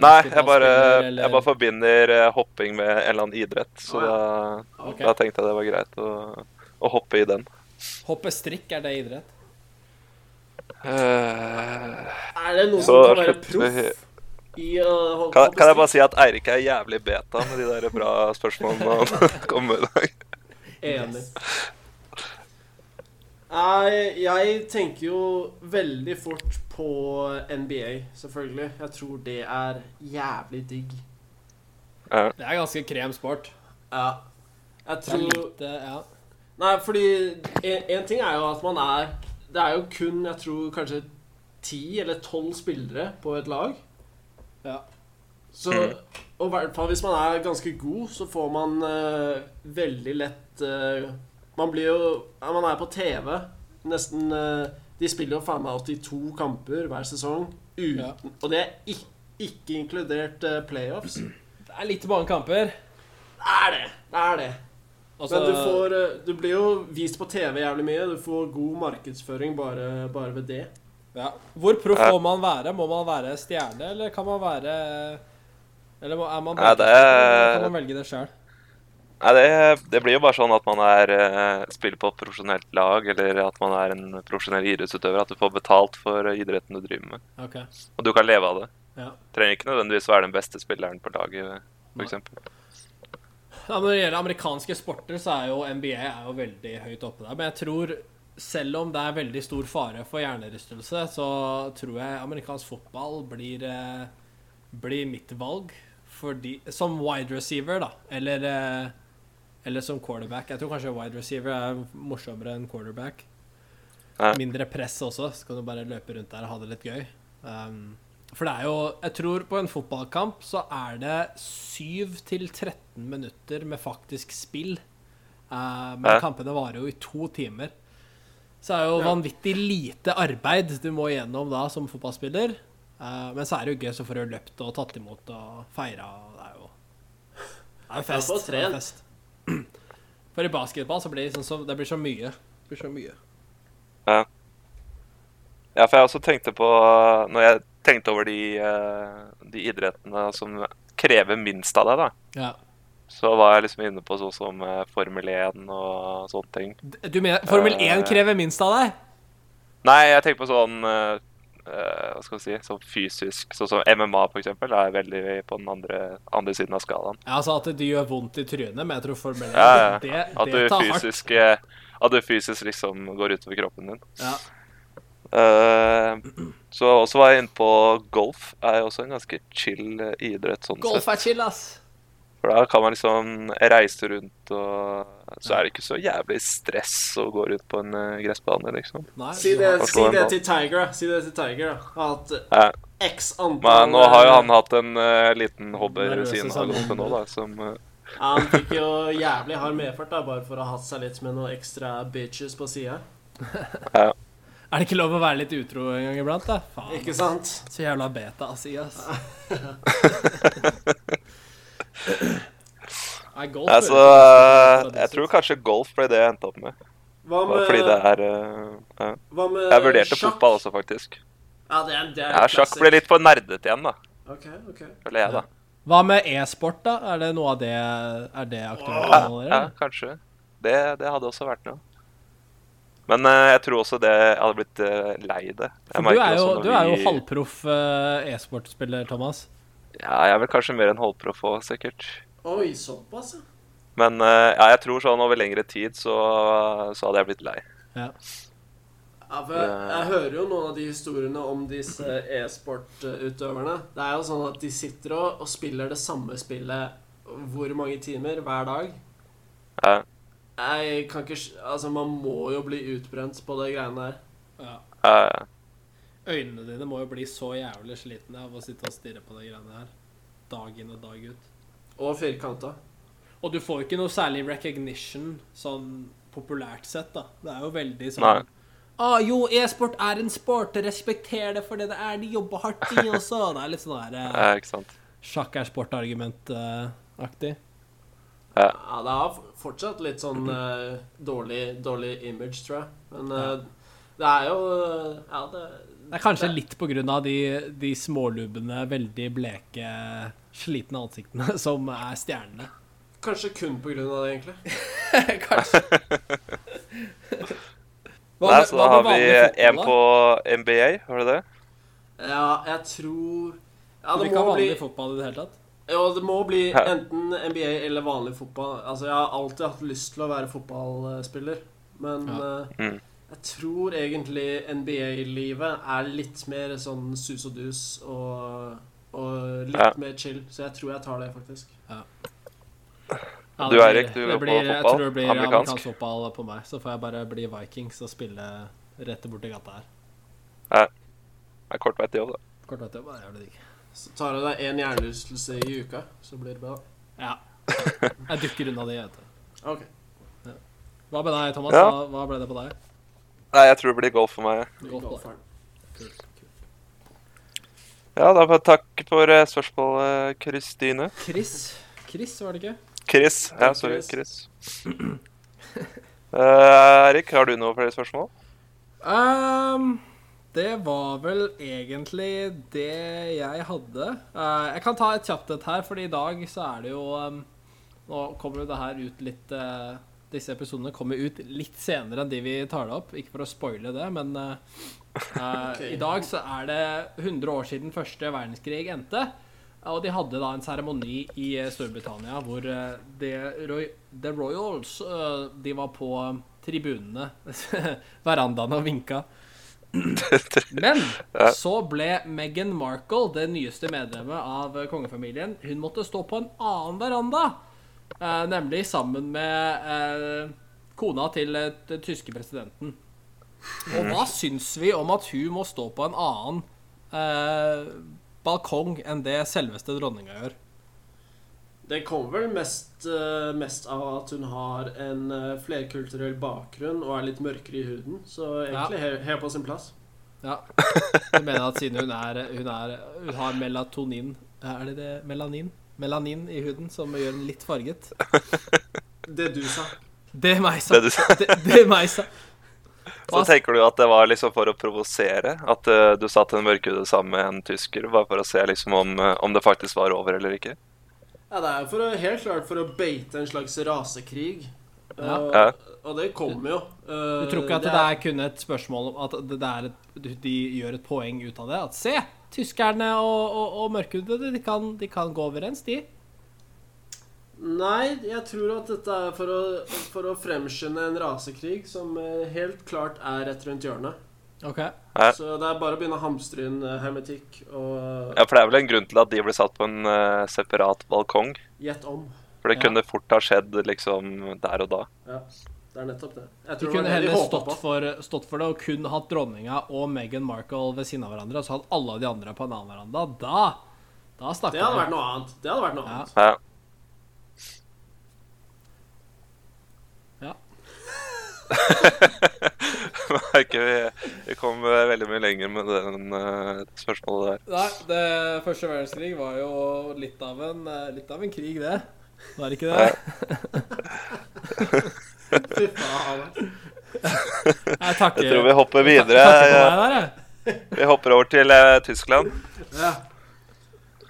Speaker 2: Nei, jeg bare,
Speaker 3: Basketballspiller, eller-
Speaker 2: jeg bare forbinder eh, hopping med en eller annen idrett. Så
Speaker 1: Å, ja.
Speaker 2: da,
Speaker 1: Ok.
Speaker 2: da tenkte jeg det var greit å, å hoppe i den.
Speaker 3: Hoppe strikk, er det idrett?
Speaker 2: Eh,
Speaker 1: Er det noen
Speaker 2: Så
Speaker 1: som kan være
Speaker 2: slutter vi-
Speaker 1: proff i å hoppe
Speaker 2: kan, kan jeg
Speaker 1: på
Speaker 2: bare si at Eirik er jævlig beta med de der bra spørsmålene han kom med i dag?
Speaker 1: Enig. Nei, jeg tenker jo veldig fort på NBA, selvfølgelig. Jeg tror det er jævlig digg.
Speaker 2: Ja.
Speaker 3: Det er ganske krem sport.
Speaker 1: Ja. Jeg
Speaker 3: Det er
Speaker 1: tror
Speaker 3: lite, ja.
Speaker 1: Nei, fordi en, en ting er jo at man er Det er jo kun, jeg tror, kanskje ti eller tolv spillere på et lag.
Speaker 3: Ja.
Speaker 1: Så
Speaker 2: Mm.
Speaker 1: Og i hvert fall hvis man er ganske god, så får man eh, veldig lett eh, Man blir jo ja, Man er på TV nesten eh, De spiller jo faen meg 82 kamper hver sesong. Uten,
Speaker 3: Ja.
Speaker 1: Og det er ikke, ikke inkludert eh, playoffs.
Speaker 3: Det er litt mange kamper.
Speaker 1: Det er det! Det er det.
Speaker 3: Altså,
Speaker 1: Men du, får, eh, du blir jo vist på TV jævlig mye. Du får god markedsføring bare, bare ved det.
Speaker 3: ja. Hvor proff
Speaker 2: Ja.
Speaker 3: må man være? Må man være stjerne, eller kan man være Eller må- er man
Speaker 2: Nei, det
Speaker 3: eller
Speaker 2: er-
Speaker 3: Kan man velge det sjøl?
Speaker 2: Nei, det, det blir jo bare sånn at man er, eh, spiller på et profesjonelt lag, eller at man er en profesjonell idrettsutøver. At du får betalt for eh, idretten du driver med.
Speaker 3: Ok.
Speaker 2: Og du kan leve av det.
Speaker 3: Ja.
Speaker 2: Trenger ikke nødvendigvis være den beste spilleren på laget, f.eks.
Speaker 3: Ja, men Når det gjelder amerikanske sporter, så er jo NBA er jo veldig høyt oppe der. Men jeg tror, selv om det er veldig stor fare for hjernerystelse, så tror jeg amerikansk fotball blir, eh, blir mitt valg. Fordi, som wide receiver, da. Eller, eh, eller som quarterback. Jeg tror kanskje wide receiver er morsommere enn quarterback.
Speaker 2: Ja.
Speaker 3: Mindre press også, så kan du bare løpe rundt der og ha det litt gøy. Um, for det er jo Jeg tror på en fotballkamp så er det 7 til 13 minutter med faktisk spill. Eh, men
Speaker 2: Ja.
Speaker 3: kampene varer jo i to timer. Så er det jo vanvittig lite arbeid du må igjennom da som fotballspiller. Eh, men så er det jo gøy, så får du løpt og tatt imot og feira. og Det er jo Det er jo fest.
Speaker 1: Ja, få
Speaker 3: det er
Speaker 1: trent.
Speaker 3: fest. For i basketball så blir det, sånn som, det blir så mye. Det blir så mye.
Speaker 2: Ja, for jeg også tenkte på Når jeg tenkte over de, eh, de idrettene som krever minst av deg, da,
Speaker 3: Ja.
Speaker 2: så var jeg liksom inne på sånn som eh, Formel 1 og sånne ting.
Speaker 3: D- Du mener Formel
Speaker 1: Eh.
Speaker 3: 1 krever minst av deg?
Speaker 2: Nei, jeg tenker på sånn eh, eh, Hva skal vi si Sånn fysisk Sånn som MMA, for eksempel, er veldig på den andre, andre siden av skalaen.
Speaker 3: Ja, altså at det gjør vondt i trynet, men jeg tror Formel 1
Speaker 2: Ja, ja.
Speaker 3: det,
Speaker 2: At du
Speaker 3: det tar hardt.
Speaker 2: fysisk eh, At du fysisk liksom går utover kroppen din.
Speaker 3: Ja.
Speaker 2: Eh, så også var jeg inne på golf. Er jo også en ganske chill eh, idrett sånn sett.
Speaker 3: Golf er chill, ass.
Speaker 2: For da kan man liksom reise rundt, og så er det ikke så jævlig stress å gå rundt på en eh, gressbane, liksom.
Speaker 3: Nei,
Speaker 1: Si
Speaker 3: du
Speaker 1: det,
Speaker 3: har-
Speaker 2: Forstår
Speaker 1: si
Speaker 2: en
Speaker 1: det
Speaker 2: ball.
Speaker 1: til Tiger, da. Si det til Tiger, da. At
Speaker 2: Ja.
Speaker 1: x antall
Speaker 2: Men nå har jo han hatt en eh, liten hobby ved
Speaker 3: Nervøse
Speaker 2: siden av
Speaker 3: sammenbrudd.
Speaker 2: golfen nå, da, som eh,
Speaker 1: Ja, han fikk jo jævlig hard medfart, da, bare for å ha hatt seg litt med noen ekstra bitches på sida.
Speaker 3: Er det ikke lov å være litt utro en gang iblant, da? Faen.
Speaker 1: Ikke sant?
Speaker 3: Så jævla beta, ass. i, ass. Nei, golf
Speaker 2: Nei, så eh,
Speaker 3: høres ut som
Speaker 2: Altså, jeg tror kanskje golf ble det jeg endte opp med.
Speaker 1: Hva
Speaker 2: Bare Fordi det
Speaker 1: med,
Speaker 2: er eh, ja.
Speaker 1: hva med
Speaker 2: Jeg vurderte
Speaker 1: sjakk?
Speaker 2: fotball også, faktisk.
Speaker 1: Ja, det er, det er
Speaker 2: Ja, sjakk ble litt for nerdete igjen, da.
Speaker 1: Ok, ok.
Speaker 2: Føler jeg, da.
Speaker 3: Hva med e-sport, da? Er det noe av det Er det aktuelt
Speaker 2: Ja,
Speaker 3: for
Speaker 2: ja
Speaker 3: dere?
Speaker 2: kanskje. Det, det hadde også vært noe. Men eh, jeg tror også det jeg hadde blitt eh, lei det. Jeg
Speaker 3: For du
Speaker 2: merker
Speaker 3: er jo,
Speaker 2: også når
Speaker 3: du er jo
Speaker 2: vi-
Speaker 3: halvproff eh, e-sportspiller, Thomas.
Speaker 2: Ja, jeg er vel kanskje mer enn halvproff òg, sikkert.
Speaker 1: Oi, såpass, ja.
Speaker 2: Men eh, ja, jeg tror sånn over lengre tid så, så hadde jeg blitt lei.
Speaker 3: Ja.
Speaker 1: Ja, for jeg, jeg hører jo noen av de historiene om disse e-sportutøverne. Det er jo sånn at de sitter og, og spiller det samme spillet hvor mange timer hver dag.
Speaker 2: Ja.
Speaker 1: Jeg kan ikke s- Altså, man må jo bli utbrent på de greiene der.
Speaker 3: Ja.
Speaker 2: Eh,
Speaker 3: Øynene dine må jo bli så jævlig slitne av å sitte og stirre på de greiene her. Dag inn og dag ut.
Speaker 1: Og firkanta.
Speaker 3: Og du får jo ikke noe særlig recognition sånn populært sett, da. Det er jo veldig sånn
Speaker 2: Nei.
Speaker 3: ah, jo, e-sport er en sport. Respekter det for det det er. De jobber hardt, de også. Det er litt sånn der eh,
Speaker 2: ja, ikke sant.
Speaker 3: sjakk er eh, sport-argument-aktig.
Speaker 1: Ja, det har f- fortsatt litt sånn eh, dårlig, dårlig image, tror jeg. Men eh, det er jo eh, Ja, det
Speaker 3: Det er kanskje litt på grunn av de, de smålubbene, veldig bleke, slitne ansiktene som er stjernene.
Speaker 1: Kanskje kun på grunn av det, egentlig.
Speaker 3: kanskje. Hva
Speaker 2: Nei,
Speaker 3: med-
Speaker 2: så
Speaker 3: hva
Speaker 2: da
Speaker 3: med
Speaker 2: har vi
Speaker 3: vanlig fotball,
Speaker 2: en
Speaker 3: da?
Speaker 2: på NBA, var det det?
Speaker 1: Ja, jeg tror Ja,
Speaker 3: Du vil
Speaker 1: det
Speaker 3: ikke ha
Speaker 1: må bli
Speaker 3: vanlig fotball i det hele tatt?
Speaker 1: Ja, det må bli
Speaker 2: Hæ?
Speaker 1: enten NBA eller vanlig fotball. Altså, jeg har alltid hatt lyst til å være fotballspiller, men
Speaker 3: Ja.
Speaker 1: eh,
Speaker 2: Mm.
Speaker 1: jeg tror egentlig NBA-livet er litt mer sånn sus og dus og, og litt
Speaker 2: Ja.
Speaker 1: mer chill, så jeg tror jeg tar det, faktisk.
Speaker 3: Ja,
Speaker 2: Du,
Speaker 3: det blir-
Speaker 2: Erik, du går
Speaker 3: det
Speaker 2: på
Speaker 3: blir- Jeg
Speaker 2: fotball.
Speaker 3: tror det blir
Speaker 2: Amerikansk.
Speaker 3: amerikansk. fotball på meg. Så får jeg bare bli Vikings og spille rett borti gata her.
Speaker 2: Det er kort vei til jobb, da.
Speaker 3: Kort og bare jævlig digg.
Speaker 1: Så tar du deg én hjernerystelse i uka, så blir det bra.
Speaker 3: Ja. Jeg dukker unna de, jeg vet du.
Speaker 1: Ok.
Speaker 3: Hva med deg, Thomas?
Speaker 2: Ja.
Speaker 3: Hva, hva ble det på deg?
Speaker 2: Nei, jeg tror det blir golf for meg.
Speaker 3: Godt på deg.
Speaker 1: Golferen.
Speaker 3: Kult, kult.
Speaker 2: Ja, da får jeg takk for eh, spørsmålet, Kristine.
Speaker 3: Chris. Chris, var det ikke?
Speaker 2: Chris. Ja,
Speaker 1: Takk,
Speaker 2: sorry,
Speaker 1: Chris.
Speaker 2: Chris. Eh, Erik, har du noe flere spørsmål?
Speaker 3: Ehm, det var vel egentlig det jeg hadde. Eh, jeg kan ta et kjapt et her, for i dag så er det jo ehm, Nå kommer jo det her ut litt eh, Disse episodene kommer ut litt senere enn de vi tar det opp. Ikke for å spoile det, men eh, eh,
Speaker 1: Ok.
Speaker 3: i dag så er det 100 år siden første verdenskrig endte. Og de hadde da en seremoni i eh, Storbritannia hvor eh, The, Roy The Royals eh, De var på tribunene, verandaene og vinka. Men så ble Meghan Markle, det nyeste medlemmet av eh, kongefamilien, hun måtte stå på en annen veranda. eh, nemlig sammen med eh, kona til eh, den tyske presidenten. Og
Speaker 2: Mm.
Speaker 3: hva syns vi om at hun må stå på en annen eh, balkong enn det selveste dronninga gjør?
Speaker 1: Det kommer vel mest, eh, mest av at hun har en eh, flerkulturell bakgrunn og er litt mørkere i huden, så egentlig he- helt på sin plass.
Speaker 3: Ja. Du mener at siden hun er Hun, er, hun har melatonin Er det det? Melanin? Melanin i huden som gjør den litt farget?
Speaker 1: Det du sa.
Speaker 3: Det er meg, sa.
Speaker 2: Det du sa.
Speaker 3: Det, det er meg, sa.
Speaker 2: Så tenker du at det var liksom for å provosere? At eh, du satt en mørkhudet sammen med en tysker, bare for å se liksom om, eh, om det faktisk var over eller ikke?
Speaker 1: Ja, det er for å, helt klart for å beite en slags rasekrig.
Speaker 3: Ja.
Speaker 1: Og,
Speaker 2: Ja.
Speaker 1: og det kommer jo. Eh,
Speaker 3: Du tror ikke at det er kun et spørsmål om at det det er et, de gjør et poeng ut av det? At se, tyskerne og, og, og mørkhudede, de kan, de kan gå overens, de.
Speaker 1: Nei, jeg tror at dette er for å, for å fremskynde en rasekrig som eh, helt klart er rett rundt hjørnet.
Speaker 3: Ok.
Speaker 2: Ja.
Speaker 1: Så det er bare å begynne å hamstre inn eh, hermetikk og eh,
Speaker 2: Ja, for det er vel en grunn til at de ble satt på en eh, separat balkong.
Speaker 1: gjett om.
Speaker 2: For det
Speaker 3: Ja.
Speaker 2: kunne fort ha skjedd liksom der og da.
Speaker 1: Ja, det er nettopp det. Jeg
Speaker 3: Du
Speaker 1: tror det
Speaker 3: kunne
Speaker 1: var det de
Speaker 3: heller
Speaker 1: håpet
Speaker 3: stått
Speaker 1: på.
Speaker 3: for, stått for det og kun hatt dronninga og Meghan Markle ved siden av hverandre, og så hatt alle de andre på en annen veranda. Da, da
Speaker 1: Det
Speaker 3: snakker
Speaker 1: hadde vært
Speaker 3: vi.
Speaker 1: noe annet. Det hadde vært noe
Speaker 3: Ja.
Speaker 1: annet.
Speaker 2: Ja.
Speaker 3: Ja.
Speaker 2: Var ikke vi, vi kom eh, veldig mye lenger med den eh, spørsmålet der.
Speaker 3: Nei, det første verdenskrig var jo litt av en, litt av en krig, det. Var det ikke
Speaker 2: Ja.
Speaker 3: det?
Speaker 1: Fy faen.
Speaker 3: Jeg takker.
Speaker 2: Jeg tror vi hopper videre.
Speaker 3: takker på meg der, jeg.
Speaker 2: Vi hopper over til eh, Tyskland.
Speaker 1: Ja.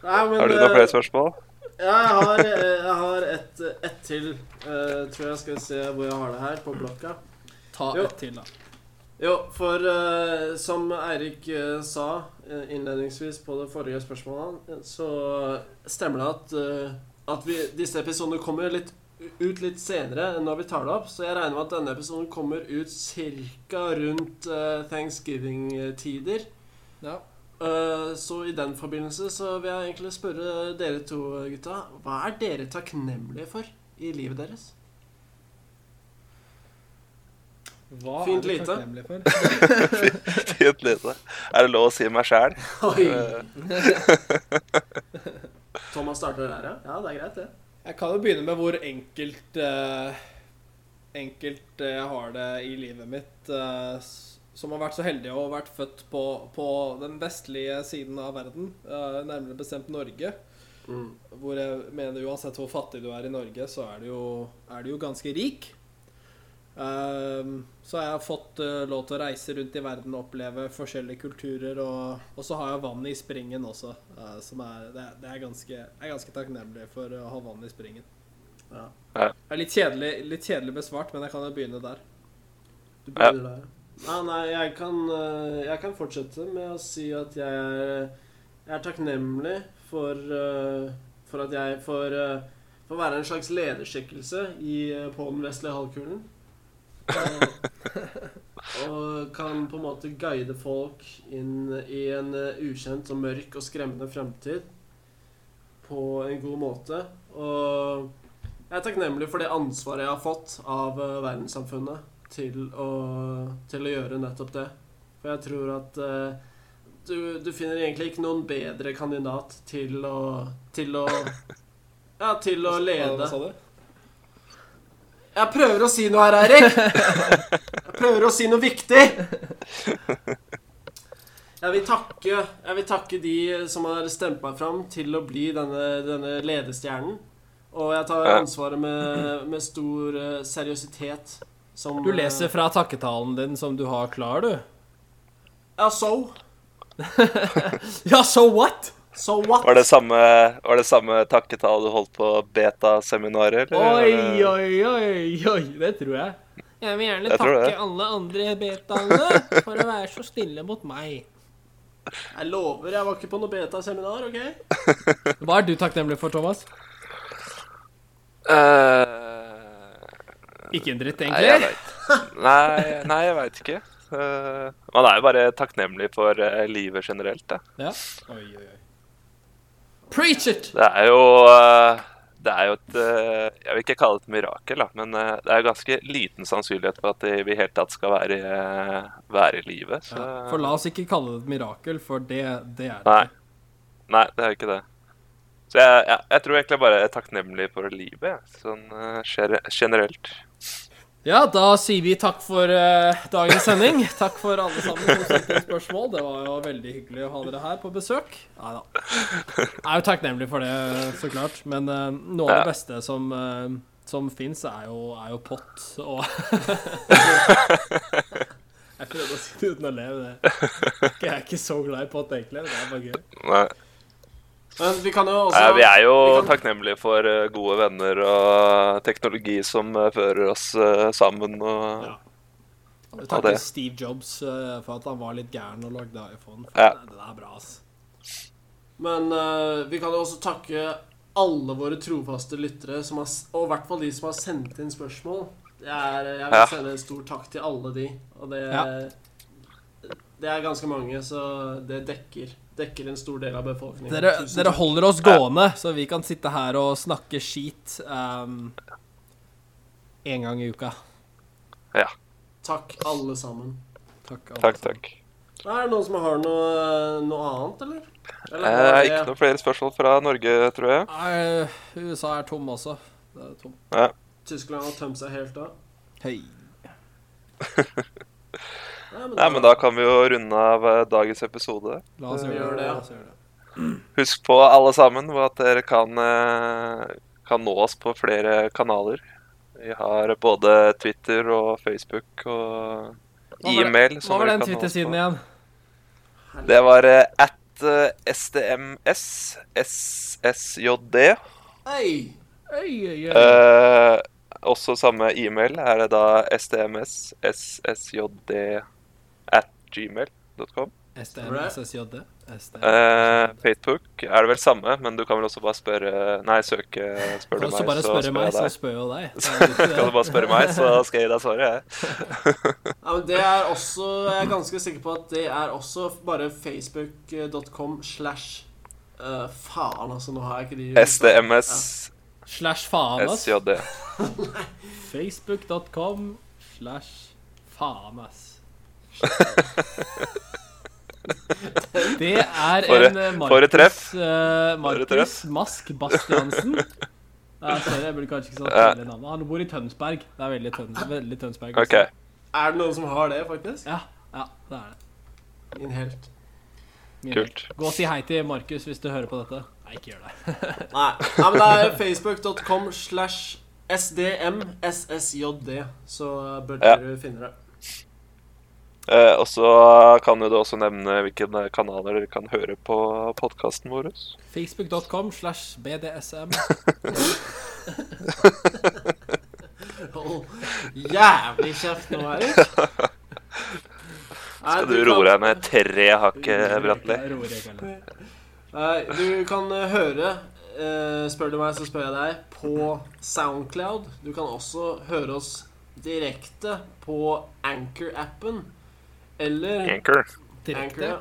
Speaker 1: Nei, men,
Speaker 2: Har du noen
Speaker 1: eh,
Speaker 2: flere spørsmål?
Speaker 1: Ja, jeg har, eh, jeg har ett et til. Eh, tror jeg skal se hvor jeg har det her, på blokka.
Speaker 3: Ta
Speaker 1: Jo.
Speaker 3: et til, da.
Speaker 1: Jo, for eh, som Eirik eh, sa eh, innledningsvis på det forrige spørsmålet, eh, så stemmer det at, eh, at vi, disse episodene kommer litt ut litt senere enn når vi tar det opp, så jeg regner med at denne episoden kommer ut ca. rundt eh, thanksgiving-tider.
Speaker 3: Ja.
Speaker 1: Eh, så i den forbindelse så vil jeg egentlig spørre dere to gutta Hva er dere takknemlige for i livet deres?
Speaker 3: Hva
Speaker 1: Fint
Speaker 3: er du
Speaker 1: lite.
Speaker 3: takknemlig for?
Speaker 2: Fint lite. Er det lov å si meg Eh, sjæl?
Speaker 1: Oi! Eh, Thomas starter der, ja? Ja, det er greit, det.
Speaker 3: Jeg kan jo begynne med hvor enkelt eh, Enkelt eh, jeg har det i livet mitt. eh, s- som har vært så heldig å ha vært født på, på den vestlige siden av verden, eh, nærmere bestemt Norge.
Speaker 1: Mm.
Speaker 3: Hvor jeg mener uansett hvor fattig du er i Norge, så er du jo, er du jo ganske rik. Ehm, så har jeg fått eh, lov til å reise rundt i verden og oppleve forskjellige kulturer. Og, og så har jeg vann i springen også, eh, som er, det, er- det er ganske, jeg er ganske takknemlig for å ha vann i springen.
Speaker 1: Ja.
Speaker 2: Ja.
Speaker 3: Det er litt kjedelig, litt kjedelig besvart, men jeg kan jo begynne der.
Speaker 1: Du begynner der. Nei, nei, jeg kan, eh, jeg kan fortsette med å si at jeg er, jeg er takknemlig for, eh, for at jeg får, eh, får være en slags lederskikkelse i, eh, på den vestlige halvkulen. Og, Eh, og kan på en måte guide folk inn i en eh, ukjent og mørk og skremmende fremtid på en god måte. Og jeg er takknemlig for det ansvaret jeg har fått av eh, verdenssamfunnet til å, til å gjøre nettopp det. For jeg tror at eh, du, du finner egentlig ikke noen bedre kandidat til å Til å Ja, til å
Speaker 3: Hva
Speaker 1: lede.
Speaker 3: sa du?
Speaker 1: Jeg prøver å si noe her, Eirik. Jeg prøver å si noe viktig. Jeg vil takke, jeg vil takke de som har stemt meg fram til å bli denne, denne ledestjernen. Og jeg tar
Speaker 2: Ja.
Speaker 1: ansvaret med, med stor eh, seriøsitet. Som,
Speaker 5: Du leser fra takketalen din som du har klar, du.
Speaker 1: eh, Ja, so.
Speaker 5: Ja, so what?
Speaker 1: So what?
Speaker 2: Var det samme, var det samme takketall du holdt på beta-seminaret? eller?
Speaker 5: Oi, oi, oi, oi. Det tror jeg. Jeg vil gjerne
Speaker 2: Jeg tror
Speaker 5: takke
Speaker 2: det.
Speaker 5: alle andre betaene for å være så snille mot meg.
Speaker 1: Jeg lover, jeg var ikke på noe beta-seminar, OK?
Speaker 5: Hva er du takknemlig for, Thomas?
Speaker 2: Eh,
Speaker 5: Ikke en dritt,
Speaker 2: nei, jeg
Speaker 5: egentlig.
Speaker 2: vet. Nei, nei, jeg veit ikke. Eh, man er jo bare takknemlig for eh, livet generelt, da.
Speaker 5: Ja. Oi, oi, oi. Preach it!
Speaker 2: Det er jo eh, Det er jo et eh, Jeg vil ikke kalle det et mirakel, da, men eh, det er ganske liten sannsynlighet for at de- vi i hele tatt skal være, i, eh, være i live. Så
Speaker 5: For la oss ikke kalle det et mirakel, for det, det er det.
Speaker 2: Nei. Nei, det er jo ikke det. Så jeg, jeg, jeg tror egentlig bare jeg er takknemlig for livet, jeg. sånn eh, gere- generelt.
Speaker 5: Ja, da sier vi takk for eh, dagens sending. Takk for alle sammen som stilte inn spørsmål. Det var jo veldig hyggelig å ha dere her på besøk. Nei da. Jeg er jo takknemlig for det, så klart. Men eh, noe av
Speaker 2: Ja.
Speaker 5: det beste som, uh, som fins, er, jo- er jo pott og Jeg prøvde å si det uten å le, men jeg- jeg er ikke så glad i pott, egentlig. Det er bare gøy.
Speaker 2: Nei.
Speaker 1: Men vi kan jo også
Speaker 2: Nei, vi er jo
Speaker 1: vi kan-
Speaker 2: takknemlige for eh, gode venner og teknologi som eh, fører oss eh, sammen og
Speaker 5: Jeg vil
Speaker 2: Ja,
Speaker 5: takke
Speaker 2: det.
Speaker 5: Steve Jobs eh, for at han var litt gæren og lagde iPhone. For
Speaker 2: Ja.
Speaker 5: Det er bra, ass.
Speaker 1: Men eh, vi kan jo også takke alle våre trofaste lyttere, som har, s- og i hvert fall de som har sendt inn spørsmål. Jeg, er, jeg vil
Speaker 2: Ja.
Speaker 1: sende en stor takk til alle de. Og det,
Speaker 5: Ja.
Speaker 1: det er ganske mange, så det dekker, dekker en stor del av befolkningen.
Speaker 5: Dere,
Speaker 1: Tusen
Speaker 5: dere
Speaker 1: takk.
Speaker 5: holder oss gående, så vi kan sitte her og snakke skit um, en gang i uka.
Speaker 2: Ja.
Speaker 1: takk, alle sammen.
Speaker 5: Takk. alle
Speaker 2: Takk,
Speaker 5: sammen.
Speaker 2: takk.
Speaker 1: Er det noen som har noe, noe annet, eller?
Speaker 2: Eh,
Speaker 1: Eller var det-
Speaker 2: ikke noen flere spørsmål fra Norge, tror jeg.
Speaker 5: Nei, USA er tom også. Det er tom.
Speaker 1: Tyskland har tømt seg helt av?
Speaker 5: Hei.
Speaker 2: Nei, men da kan vi jo runde av eh, dagens episode.
Speaker 5: La oss
Speaker 1: Vi
Speaker 5: gjøre det.
Speaker 1: gjør det, ja.
Speaker 5: La oss gjøre det.
Speaker 2: Husk på, alle sammen, hvor at dere kan, eh, kan nå oss på flere kanaler. Vi har både Twitter og Facebook og
Speaker 5: Hva var det-
Speaker 2: e-mail.
Speaker 5: Hva var den Twitter-siden igjen?
Speaker 2: Det var eh, at eh, stms ssjd.
Speaker 1: Hei!
Speaker 5: Øy, øy, øy.
Speaker 2: Eh, også samme e-mail er det da stms ssjd at gmail.com.
Speaker 5: STMSSJD.
Speaker 2: Eh, Facebook er det vel samme, men du kan vel også bare spørre Nei, søke Spør du
Speaker 3: Kan
Speaker 2: meg,
Speaker 3: også bare
Speaker 2: så
Speaker 3: spørre
Speaker 2: spør
Speaker 3: meg,
Speaker 2: jeg
Speaker 3: så
Speaker 2: deg.
Speaker 3: spør jo deg.
Speaker 2: Kan du bare spørre meg, så skal jeg gi deg svaret, jeg.
Speaker 1: Ja, men det er også Jeg er ganske sikker på at det er også bare facebook.com slash eh, Faen, altså, nå har jeg ikke de
Speaker 2: SDMS
Speaker 3: Slash faen, ass.
Speaker 2: SJD.
Speaker 3: Facebook.com slash faen, ass. Det er
Speaker 2: For et-
Speaker 3: en eh,
Speaker 2: for et treff.
Speaker 3: Markus, eh,
Speaker 2: For et
Speaker 3: Markus Mask Bastiansen. Nei, sorry, jeg burde kanskje ikke sagt
Speaker 2: Ja.
Speaker 3: hele navnet. Han bor i Tønsberg. Det er veldig, tøns veldig Tønsberg. altså.
Speaker 2: OK.
Speaker 1: Er det noen som har det, faktisk?
Speaker 3: Ja, ja, det er det.
Speaker 1: Min helt.
Speaker 3: Min
Speaker 2: Kult.
Speaker 3: Gå og si hei til Markus hvis du hører på dette. Nei, ikke gjør det.
Speaker 1: Nei. Nei, men det er facebook.com slash sdmssjd, så eh, bør
Speaker 2: Ja.
Speaker 1: dere finne det.
Speaker 2: Eh, og så kan jo du også nevne hvilke kanaler dere kan høre på podkasten vår.
Speaker 3: Facebook.com slash BDSM.
Speaker 1: Hold jævlig kjeft nå, Erik. Nei,
Speaker 2: Skal du
Speaker 1: kan-
Speaker 2: roe deg ned tre hakk, eh, Bratli?
Speaker 3: Jeg roer ikke heller.
Speaker 1: Nei, du kan eh, høre eh, Spør du meg, så spør jeg deg på Soundcloud. Du kan også høre oss direkte på Anchor-appen. Eller
Speaker 2: Anchor.
Speaker 1: Anchor,
Speaker 3: Direkte.
Speaker 1: ja.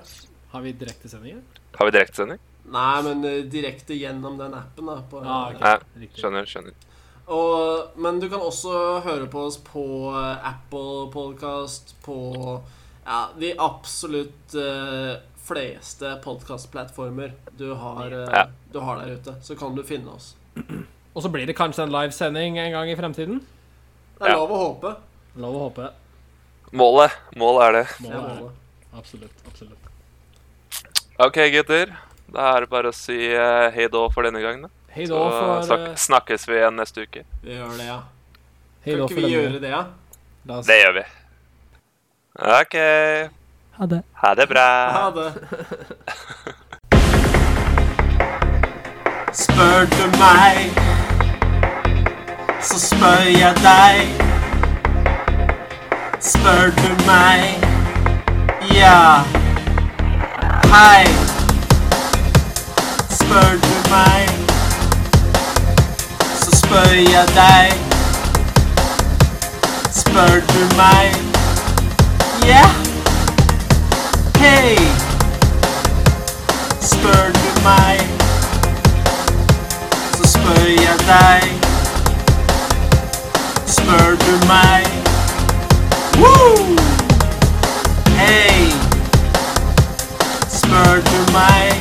Speaker 3: Har vi direktesendinger?
Speaker 2: Har vi direktesending?
Speaker 1: Nei, men eh, direkte gjennom den appen. da på,
Speaker 3: Ah, ok.
Speaker 2: Nei.
Speaker 3: Riktig.
Speaker 2: Skjønner, skjønner.
Speaker 1: og, Men du kan også høre på oss på eh, Apple Podcast, på ja, de absolutt eh, fleste podkastplattformer du, har, eh,
Speaker 2: Ja.
Speaker 1: du har der ute. Så kan du finne oss.
Speaker 3: Og så blir det kanskje en livesending en gang i fremtiden.
Speaker 1: Det er
Speaker 2: Ja.
Speaker 1: lov å håpe.
Speaker 3: Lov å håpe.
Speaker 2: Målet. Målet er det.
Speaker 1: Det
Speaker 3: Må
Speaker 1: er
Speaker 3: være.
Speaker 1: målet.
Speaker 3: Absolutt. absolutt.
Speaker 2: OK, gutter. Da er det bare å si eh, hei då for denne gangen. da.
Speaker 3: Hei
Speaker 2: Så
Speaker 3: da for,
Speaker 2: snak-
Speaker 3: eh,
Speaker 2: snakkes vi igjen neste uke.
Speaker 1: Vi gjør det, ja.
Speaker 3: hei
Speaker 1: kan
Speaker 3: da
Speaker 1: ikke
Speaker 3: for
Speaker 1: vi
Speaker 3: denne.
Speaker 1: gjøre det, ja?
Speaker 3: La oss-
Speaker 2: Det gjør vi. OK.
Speaker 3: Ha det.
Speaker 2: Ha det bra.
Speaker 1: Ha det. Spør du meg, så spør jeg deg. Spør du meg, ja. Hei. Spør du meg, så spør jeg deg. Spør du meg, ja. Hei! Spør du meg, så spør jeg deg. Spør du meg Woo! Hei! Spør du meg,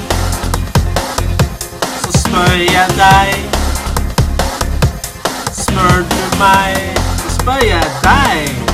Speaker 1: så spør jeg deg. Spør du meg, så spør jeg deg.